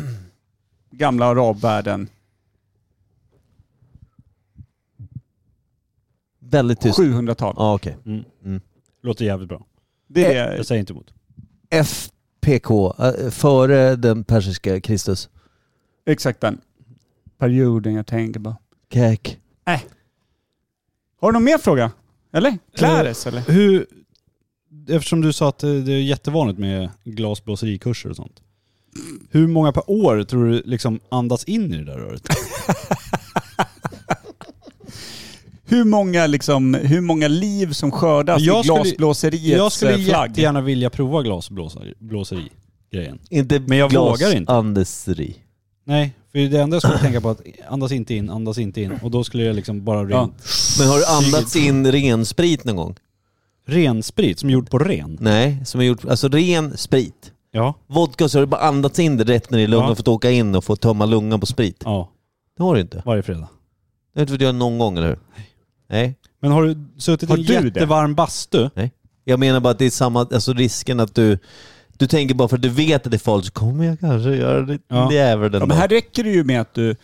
Speaker 3: gamla arabvärlden.
Speaker 1: Väldigt tyst.
Speaker 3: 700-tal.
Speaker 1: Ja, okej.
Speaker 2: Låter jävligt bra.
Speaker 3: Det är
Speaker 2: Jag säger inte emot.
Speaker 1: FPK, eh, före den persiska Kristus.
Speaker 3: exakt den perioden jag tänker på.
Speaker 1: Kek.
Speaker 3: Har du någon mer fråga? Eller? Clares
Speaker 2: Eh,
Speaker 3: eller?
Speaker 2: Hur, eftersom du sa att det det är jättevanligt med glasblåserikurser och sånt. Hur många per år tror du liksom andas in i det där röret?
Speaker 3: Hur många, liksom, hur många liv som skördas
Speaker 2: Jag
Speaker 3: i
Speaker 2: skulle-
Speaker 3: glasblåseriets
Speaker 2: Jag skulle
Speaker 3: eh, flagg?
Speaker 2: jättegärna vilja prova glasblåseri-grejen.
Speaker 1: Inte
Speaker 2: Men jag vågar inte.
Speaker 1: Andesri.
Speaker 2: Nej, för det enda jag skulle tänka på är att andas inte in, andas inte in. Och då skulle jag liksom bara ren,
Speaker 3: Ja.
Speaker 1: Men har du andats in ren sprit någon gång?
Speaker 2: ren sprit som är gjord på ren.
Speaker 1: Nej, som är gjort... Alltså ren sprit.
Speaker 2: Ja.
Speaker 1: Vodka så har du bara andats in det rätt ner i lungan
Speaker 2: Ja.
Speaker 1: och fått åka in och få tömma lungan på sprit.
Speaker 2: Ja,
Speaker 1: Det har du inte.
Speaker 2: varje fredag.
Speaker 1: Det har du inte fått göra någon gång, eller hur? Nej.
Speaker 2: Men har du suttit
Speaker 3: Har
Speaker 2: i en
Speaker 3: du det?
Speaker 2: jättevarm bastu?
Speaker 1: Jag menar bara att det är samma, alltså risken att du, du tänker bara för att du vet att det är farligt så kommer jag kanske göra det
Speaker 2: Ja.
Speaker 1: jävlar
Speaker 3: Ja,
Speaker 1: ändå.
Speaker 3: men här räcker det ju med att du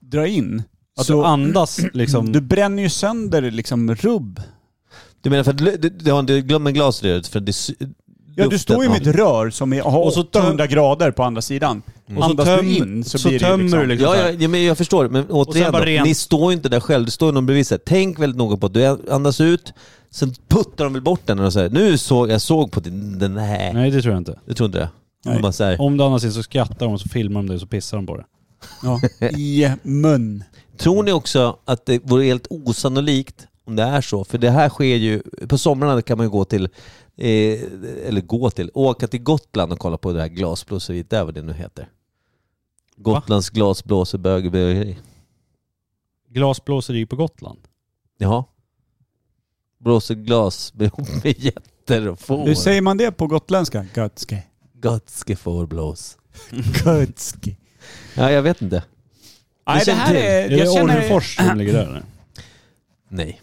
Speaker 3: drar in.
Speaker 2: Att
Speaker 3: så
Speaker 2: du andas liksom...
Speaker 3: du bränner ju sönder liksom rubb.
Speaker 1: Du menar för att lu- du, du har inte, glöm en glas i det, för att det sy-
Speaker 3: Ja, du
Speaker 1: luften-
Speaker 3: står ju med ett rör som är, har
Speaker 2: Och så Mm.
Speaker 3: 800 grader på andra sidan.
Speaker 2: Och så
Speaker 3: Andas
Speaker 2: töm-
Speaker 3: du in så,
Speaker 2: så
Speaker 3: blir det
Speaker 2: tömmer
Speaker 3: ju
Speaker 2: du
Speaker 3: liksom...
Speaker 2: liksom
Speaker 1: Ja,
Speaker 2: så
Speaker 1: ja,
Speaker 2: här.
Speaker 1: ja, men jag förstår. Men återigen,
Speaker 2: bara
Speaker 1: då,
Speaker 2: rent.
Speaker 1: ni står ju inte där själv. Det står ju någon bredvid. så här, Tänk väldigt noga på att du andas ut, sen puttar de väl bort den och säger nu såg jag såg på din, den här.
Speaker 2: Nej, det tror jag inte.
Speaker 1: Du tror inte det?
Speaker 3: Nej.
Speaker 1: De Bara så här,
Speaker 2: Om du andas in så skrattar de och så filmar de dig och så pissar de på det.
Speaker 3: Ja, I mun.
Speaker 1: Tror ni också att det vore helt osannolikt om det är så? För det här sker ju, på somrarna kan man ju gå till, eh, eller gå till, åka till Gotland och kolla på det här glasblåseriet där, vad det nu heter. Gotlands glasblåsebögeri.
Speaker 2: Glasblåseri på Gotland.
Speaker 1: Jaha. Blåser glas med med getter och får.
Speaker 3: Hur säger man det på gotländska? Götske.
Speaker 1: Gotske fårblås.
Speaker 3: Götske.
Speaker 1: Ja, jag vet inte.
Speaker 3: Nej, det
Speaker 1: känner
Speaker 3: här
Speaker 1: till.
Speaker 3: är...
Speaker 2: Är det
Speaker 3: Jag känner,
Speaker 2: Orrefors som ligger där? eller?
Speaker 1: Nej.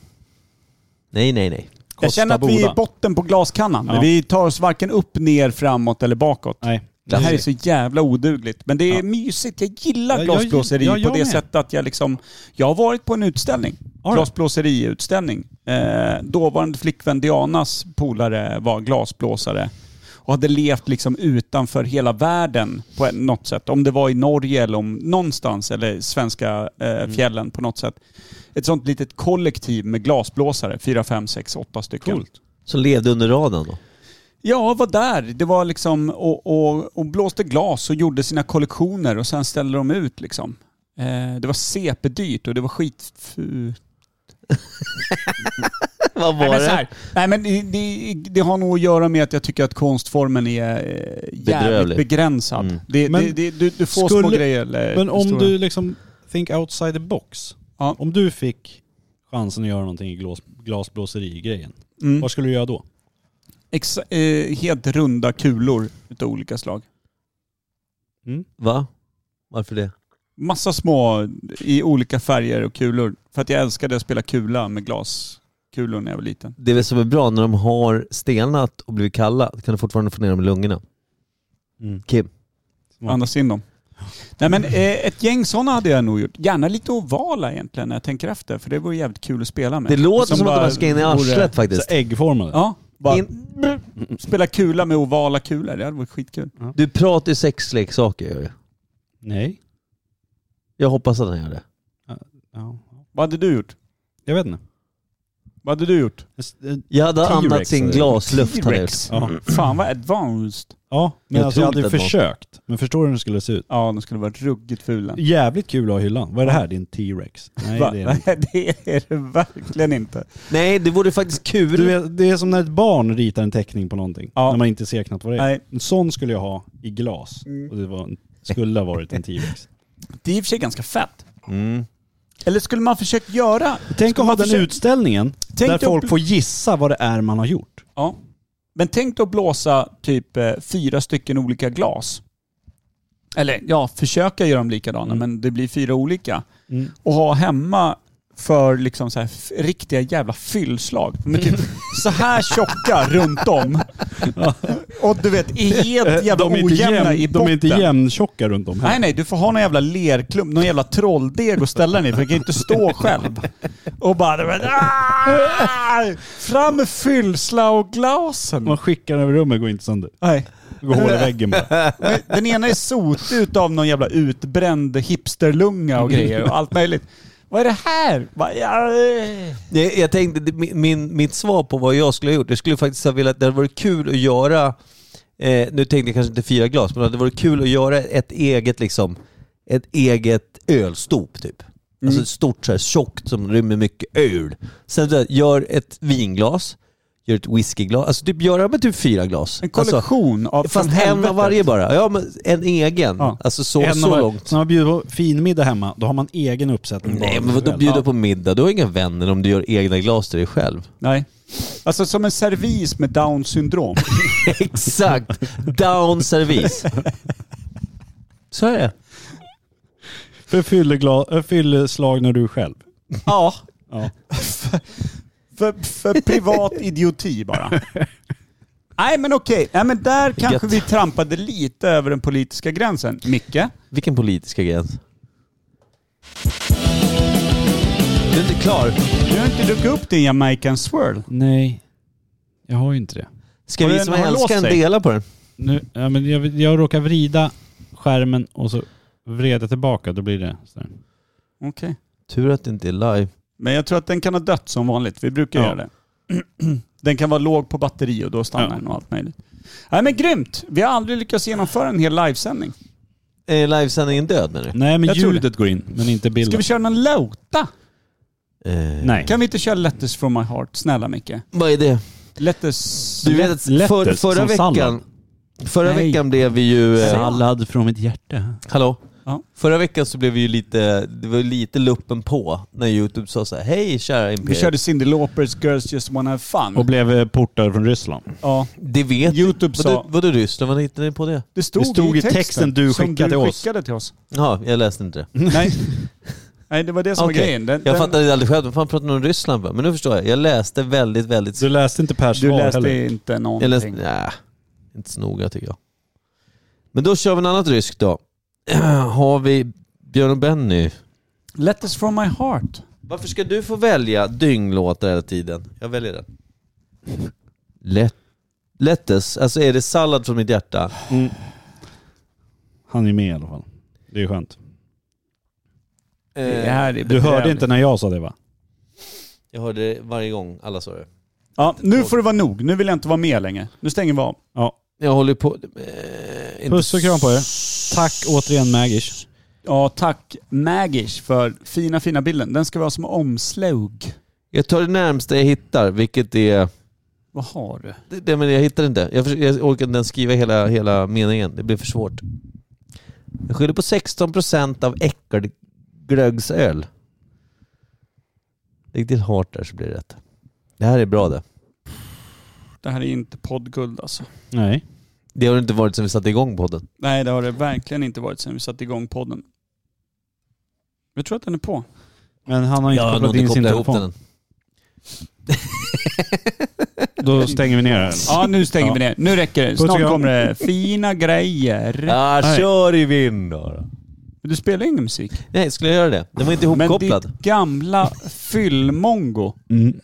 Speaker 1: Nej, nej, nej.
Speaker 3: jag känner att vi är i botten på glaskannan.
Speaker 2: Ja.
Speaker 3: Vi tar oss varken upp, ner, framåt eller bakåt.
Speaker 2: Nej.
Speaker 3: Det här är så jävla odugligt. Men det är
Speaker 2: Ja.
Speaker 3: mysigt. Jag gillar
Speaker 2: Ja, jag-
Speaker 3: glasblåseri
Speaker 2: ja,
Speaker 3: på
Speaker 2: jag
Speaker 3: det
Speaker 2: med.
Speaker 3: sättet att jag liksom... Jag har varit på en utställning.
Speaker 2: Har du?
Speaker 3: Glasblåseriutställning. Eh, dåvarande flickvän Dianas polare var glasblåsare. Och hade levt liksom utanför hela världen på en- något sätt. Om det var i Norge eller om någonstans, eller svenska
Speaker 2: Mm.
Speaker 3: eh, fjällen på något sätt. Ett sånt litet kollektiv med glasblåsare, fyra, fem, sex, åtta stycken.
Speaker 2: Coolt.
Speaker 1: Så levde under radarn då?
Speaker 3: Ja, var där. Det var liksom och, och, och blåste glas och gjorde sina kollektioner och sen ställde de ut liksom. Eh, det var CP-dyrt och det var skit...
Speaker 1: Vad
Speaker 3: Nej
Speaker 1: var
Speaker 3: men, så
Speaker 1: det?
Speaker 3: här, nej, men det, det, det har nog att göra med att jag tycker att konstformen är eh, jävligt
Speaker 1: Bedrövlig.
Speaker 3: begränsad.
Speaker 1: Mm.
Speaker 3: Det,
Speaker 2: Men
Speaker 3: det, det, du, du får små
Speaker 2: skulle-
Speaker 3: grejer. eh, Eller,
Speaker 2: Men om
Speaker 3: stora-
Speaker 2: du liksom think outside the box.
Speaker 3: Ja.
Speaker 2: Om du fick chansen att göra någonting i glas, glasblåseri-grejen.
Speaker 3: Mm.
Speaker 2: Vad skulle du göra då?
Speaker 3: Exa, eh, helt runda kulor utav olika slag.
Speaker 1: Va? Varför det?
Speaker 3: Massa små i olika färger och kulor. För att jag älskade att spela kula med glaskulor när jag var liten.
Speaker 1: Det är väl som är bra, när de har stelnat och blivit kalla kan du fortfarande få ner dem i lungorna.
Speaker 2: Mm.
Speaker 1: Kim?
Speaker 2: Ja.
Speaker 3: Andas in dem. Nej men eh, ett gäng sådana hade jag nog gjort. Gärna lite ovala egentligen när jag tänker efter. För det vore jävligt kul att spela med.
Speaker 1: Det låter som, att de
Speaker 3: bara
Speaker 1: här ska in i
Speaker 3: vore-
Speaker 1: arslet faktiskt.
Speaker 2: Så äggformade.
Speaker 3: Ja. Bara
Speaker 1: In,
Speaker 3: spela kula med ovala kulor. Det hade varit skitkul.
Speaker 1: du pratar ju sexleksaker gör du.
Speaker 2: Nej.
Speaker 1: Jag hoppas att han gör det.
Speaker 2: Ja.
Speaker 3: Vad hade du gjort?
Speaker 2: Jag vet inte.
Speaker 3: Vad hade du gjort?
Speaker 2: S- eh,
Speaker 1: Jag hade
Speaker 2: T-rex,
Speaker 1: andats in
Speaker 2: eller?
Speaker 1: glasluft här nu.
Speaker 3: T-rex.
Speaker 2: Ja,
Speaker 3: Fan vad advanced.
Speaker 2: ja men
Speaker 1: Jag
Speaker 2: alltså, jag hade ju
Speaker 1: trodde inte att
Speaker 2: försökt. Men förstår du hur den skulle se ut?
Speaker 3: Ja, de skulle vara ruggigt fula.
Speaker 2: Jävligt kul att ha i hyllan. Vad är det här? Din T-Rex? Nej,
Speaker 3: Va?
Speaker 2: det är det inte.
Speaker 3: Nej, det är det verkligen inte.
Speaker 1: Nej, det vore faktiskt kul.
Speaker 2: du vet, Det är som när ett barn ritar en teckning på någonting.
Speaker 3: Ja.
Speaker 2: När man inte ser knappt vad det är.
Speaker 3: Nej,
Speaker 2: En sån skulle jag ha i glas.
Speaker 3: Mm.
Speaker 2: Och det var, en- skulle ha varit en T-Rex.
Speaker 3: det är i och för sig ganska fett.
Speaker 1: Mm.
Speaker 3: Eller skulle man försökt göra...
Speaker 2: Tänk att ha
Speaker 3: man
Speaker 2: den
Speaker 3: försöka-
Speaker 2: utställningen
Speaker 3: Tänk
Speaker 2: där
Speaker 3: dig att
Speaker 2: folk
Speaker 3: bl-
Speaker 2: får gissa vad det är man har gjort.
Speaker 3: Ja. Men tänk dig att blåsa typ eh, fyra stycken olika glas. Eller ja, försöka göra dem likadana,
Speaker 2: Mm.
Speaker 3: men det blir fyra olika. Och ha hemma för liksom så här f- riktiga jävla fyllslag. Men typ så här tjocka runt om. Och du vet, är
Speaker 2: Eh,
Speaker 3: helt jävla
Speaker 2: de är inte
Speaker 3: ojämna
Speaker 2: jämn-
Speaker 3: i
Speaker 2: De är
Speaker 3: botten.
Speaker 2: inte jämntjocka runt om
Speaker 3: Nej
Speaker 2: här.
Speaker 3: nej, du får ha någon jävla lerklump, någon jävla trolldeg att ställa den i för du kan ju inte stå själv. Och bara... du vet, "Aah! Fram med fyllsla och glasen.
Speaker 2: Man skickar den över rummet och går inte sönder.
Speaker 3: Nej.
Speaker 2: Det går hål i väggen bara.
Speaker 3: Men Den ena är sotig utav någon jävla utbränd hipsterlunga och grejer och allt möjligt. Vad är det här? Bara, "Ja, eh."
Speaker 1: Jag, jag tänkte, det- min, min, mitt svar på vad jag skulle ha gjort, jag skulle faktiskt ha velat, det hade varit kul att göra, eh, nu tänkte jag kanske inte fyra glas, men det hade varit kul att göra ett eget liksom, ett eget ölstop typ.
Speaker 3: Mm.
Speaker 1: Alltså ett stort så här tjockt som rymmer mycket öl. Sen så här, gör ett vinglas, gör ett whiskyglas, alltså typ göra med typ fyra glas.
Speaker 3: En kollektion av
Speaker 1: Alltså, fast
Speaker 3: från
Speaker 1: en
Speaker 3: helvetet.
Speaker 1: av varje bara. Ja, men en egen.
Speaker 3: Ja.
Speaker 1: Alltså så,
Speaker 2: En
Speaker 1: så
Speaker 2: av-
Speaker 1: långt.
Speaker 2: När man bjuder på finmiddag hemma, då har man egen uppsättning.
Speaker 1: Nej
Speaker 2: bara
Speaker 1: men
Speaker 2: själv.
Speaker 1: vadå bjuda på middag? Du har inga vänner om du gör egna glas till dig själv.
Speaker 3: Nej. Alltså som en servis med down syndrom.
Speaker 1: Exakt! Down service. Så är det.
Speaker 2: För fyllegla- äh, fylleslag när du är själv.
Speaker 3: ja.
Speaker 2: Ja.
Speaker 3: För, för privat idioti bara. Nej men okej, Nej, men där kanske
Speaker 1: Gött.
Speaker 3: vi trampade lite över den politiska gränsen. Micke?
Speaker 1: Vilken politiska gräns. Du är inte klar.
Speaker 3: Du har inte druckit upp din Jamaican swirl.
Speaker 2: Nej, jag har ju inte det.
Speaker 1: Ska
Speaker 3: Har
Speaker 1: vi
Speaker 3: den-
Speaker 1: som
Speaker 3: har den låst
Speaker 1: älskar en
Speaker 3: sig?
Speaker 1: dela på den?
Speaker 2: Nu, ja, men jag, jag råkar vrida skärmen och så vred jag tillbaka, då blir det sådär.
Speaker 3: Okej.
Speaker 1: Tur att det inte är live.
Speaker 3: Men jag tror att den kan ha dött som vanligt. Vi brukar
Speaker 2: Ja.
Speaker 3: göra det. Den kan vara låg på batteri och då stannar
Speaker 2: Ja.
Speaker 3: den och allt möjligt. Nej men grymt! Vi har aldrig lyckats genomföra en hel livesändning.
Speaker 1: Eh, Är livesändningen död menar du?
Speaker 2: Nej men
Speaker 3: Jag tror
Speaker 2: ljudet går in, men inte bilden.
Speaker 3: Ska vi köra någon låta?
Speaker 1: Eh,
Speaker 2: Nej.
Speaker 3: Kan vi inte köra Letters from my heart? Snälla Micke.
Speaker 1: Vad är det?
Speaker 3: Letters...
Speaker 1: Du vet att
Speaker 2: lätt
Speaker 1: för,
Speaker 2: ut,
Speaker 1: förra
Speaker 2: som
Speaker 1: veckan...
Speaker 2: sallad.
Speaker 1: Förra
Speaker 3: Nej.
Speaker 1: veckan blev vi ju... Eh,
Speaker 2: Sallad från mitt hjärta.
Speaker 1: Hallå?
Speaker 3: Ja.
Speaker 1: Förra veckan så blev vi ju lite, det var lite luppen på när Youtube sa så här, hej kära
Speaker 3: Vi
Speaker 1: Imperiet.
Speaker 3: körde Cyndi Laupers Girls Just Wanna Have Fun.
Speaker 2: Och blev eh, portad från Ryssland.
Speaker 3: ja.
Speaker 1: Det vet
Speaker 3: Youtube sa-
Speaker 1: Vadå, vadå Ryssland, vad hittade ni på det?
Speaker 3: det, stod
Speaker 2: det stod
Speaker 3: i
Speaker 2: i
Speaker 3: texten,
Speaker 2: texten du
Speaker 3: som
Speaker 2: skickade
Speaker 3: du
Speaker 2: till oss.
Speaker 3: skickade till oss.
Speaker 1: Ja, jag läste inte det.
Speaker 3: Nej. Nej, det var det som
Speaker 1: Okej.
Speaker 3: var grejen. Den,
Speaker 1: Jag
Speaker 3: den-
Speaker 1: fattade det aldrig själv, vad fan pratar ni om Ryssland för? Men nu förstår jag, jag läste väldigt, väldigt...
Speaker 2: Du läste inte Pers
Speaker 3: Du
Speaker 2: svar
Speaker 3: läste
Speaker 2: heller.
Speaker 3: inte
Speaker 1: jag
Speaker 3: någonting.
Speaker 1: läste, nej, inte så noga tycker jag. Men då kör vi en annat rysk då. Har vi Björn och Benny.
Speaker 3: Letters from my heart.
Speaker 1: Varför ska du få välja dynglåtar hela tiden? Jag väljer den. Lätt, lättes, alltså är det sallad från mitt hjärta?
Speaker 2: Han är med i alla fall. Det är skönt.
Speaker 3: Det här är
Speaker 2: Eh, Du hörde
Speaker 3: bedrövligt.
Speaker 2: inte när jag sa det va?
Speaker 1: Jag hörde det varje gång, alla sa det.
Speaker 3: Ja, nu får det vara nog. Nu vill jag inte vara med längre. Nu stänger vi av.
Speaker 2: Ja.
Speaker 1: Jag håller på... Eh, inte
Speaker 2: Puss och kram på er. Tack återigen Magish.
Speaker 3: Ja, tack Magish för fina, fina bilden. Den ska vi ha som omslag.
Speaker 1: Jag tar det närmsta jag hittar, vilket är...
Speaker 3: Vad har du?
Speaker 1: Det, det, men jag hittar inte. Jag, förs- jag orkar inte ens skriva hela, hela meningen. Det blir för svårt. Jag skyller på 16% av äckelglöggsöl. Lägg till hårt där så blir det rätt. Det här är bra det.
Speaker 3: Det här är inte poddguld alltså.
Speaker 2: Nej.
Speaker 1: Det har det inte varit sedan vi satte igång podden.
Speaker 3: Nej, det har det verkligen inte varit sedan vi satte igång podden. Jag tror att den är på.
Speaker 2: Men han har
Speaker 1: Jag
Speaker 2: inte
Speaker 1: har nog
Speaker 2: kopplat
Speaker 1: inte
Speaker 2: in sin
Speaker 1: kopplat ihop den
Speaker 2: telefon.
Speaker 1: än.
Speaker 2: Då stänger vi ner den.
Speaker 3: Ja, nu stänger vi ner. Nu räcker det.
Speaker 2: Puss och
Speaker 3: Snart
Speaker 2: kram.
Speaker 3: kommer det fina grejer.
Speaker 1: Ja,
Speaker 2: Nej.
Speaker 1: Ah, kör i vind då, då.
Speaker 3: Men Du spelar ju ingen musik.
Speaker 1: Nej, skulle jag göra det? Den var inte
Speaker 3: Men
Speaker 1: ihopkopplad.
Speaker 3: ditt gamla fyllmongo.
Speaker 2: Mm.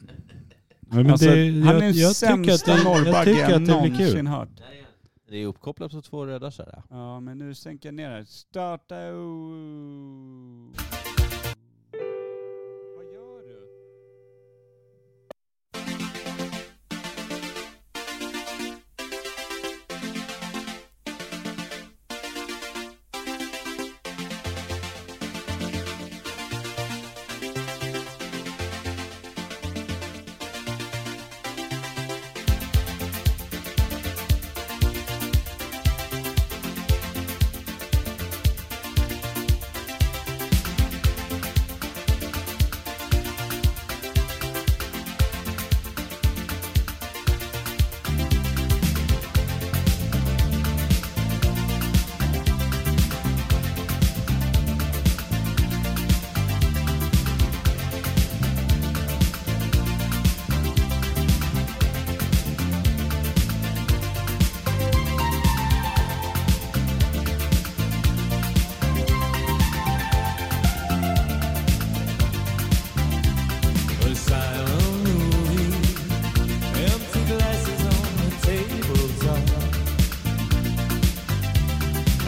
Speaker 2: Men
Speaker 3: Alltså,
Speaker 2: det,
Speaker 3: han är
Speaker 2: jag,
Speaker 3: den
Speaker 2: jag tycker att
Speaker 3: sämsta
Speaker 2: det, jag
Speaker 3: norrbagge
Speaker 2: tycker
Speaker 3: jag
Speaker 2: att det blir
Speaker 3: någonsin
Speaker 2: kul.
Speaker 3: hört.
Speaker 1: Det är uppkopplat på två röda så
Speaker 3: Ja, men nu sänker jag ner det. Starta o- Vad gör du?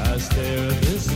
Speaker 7: I stare at this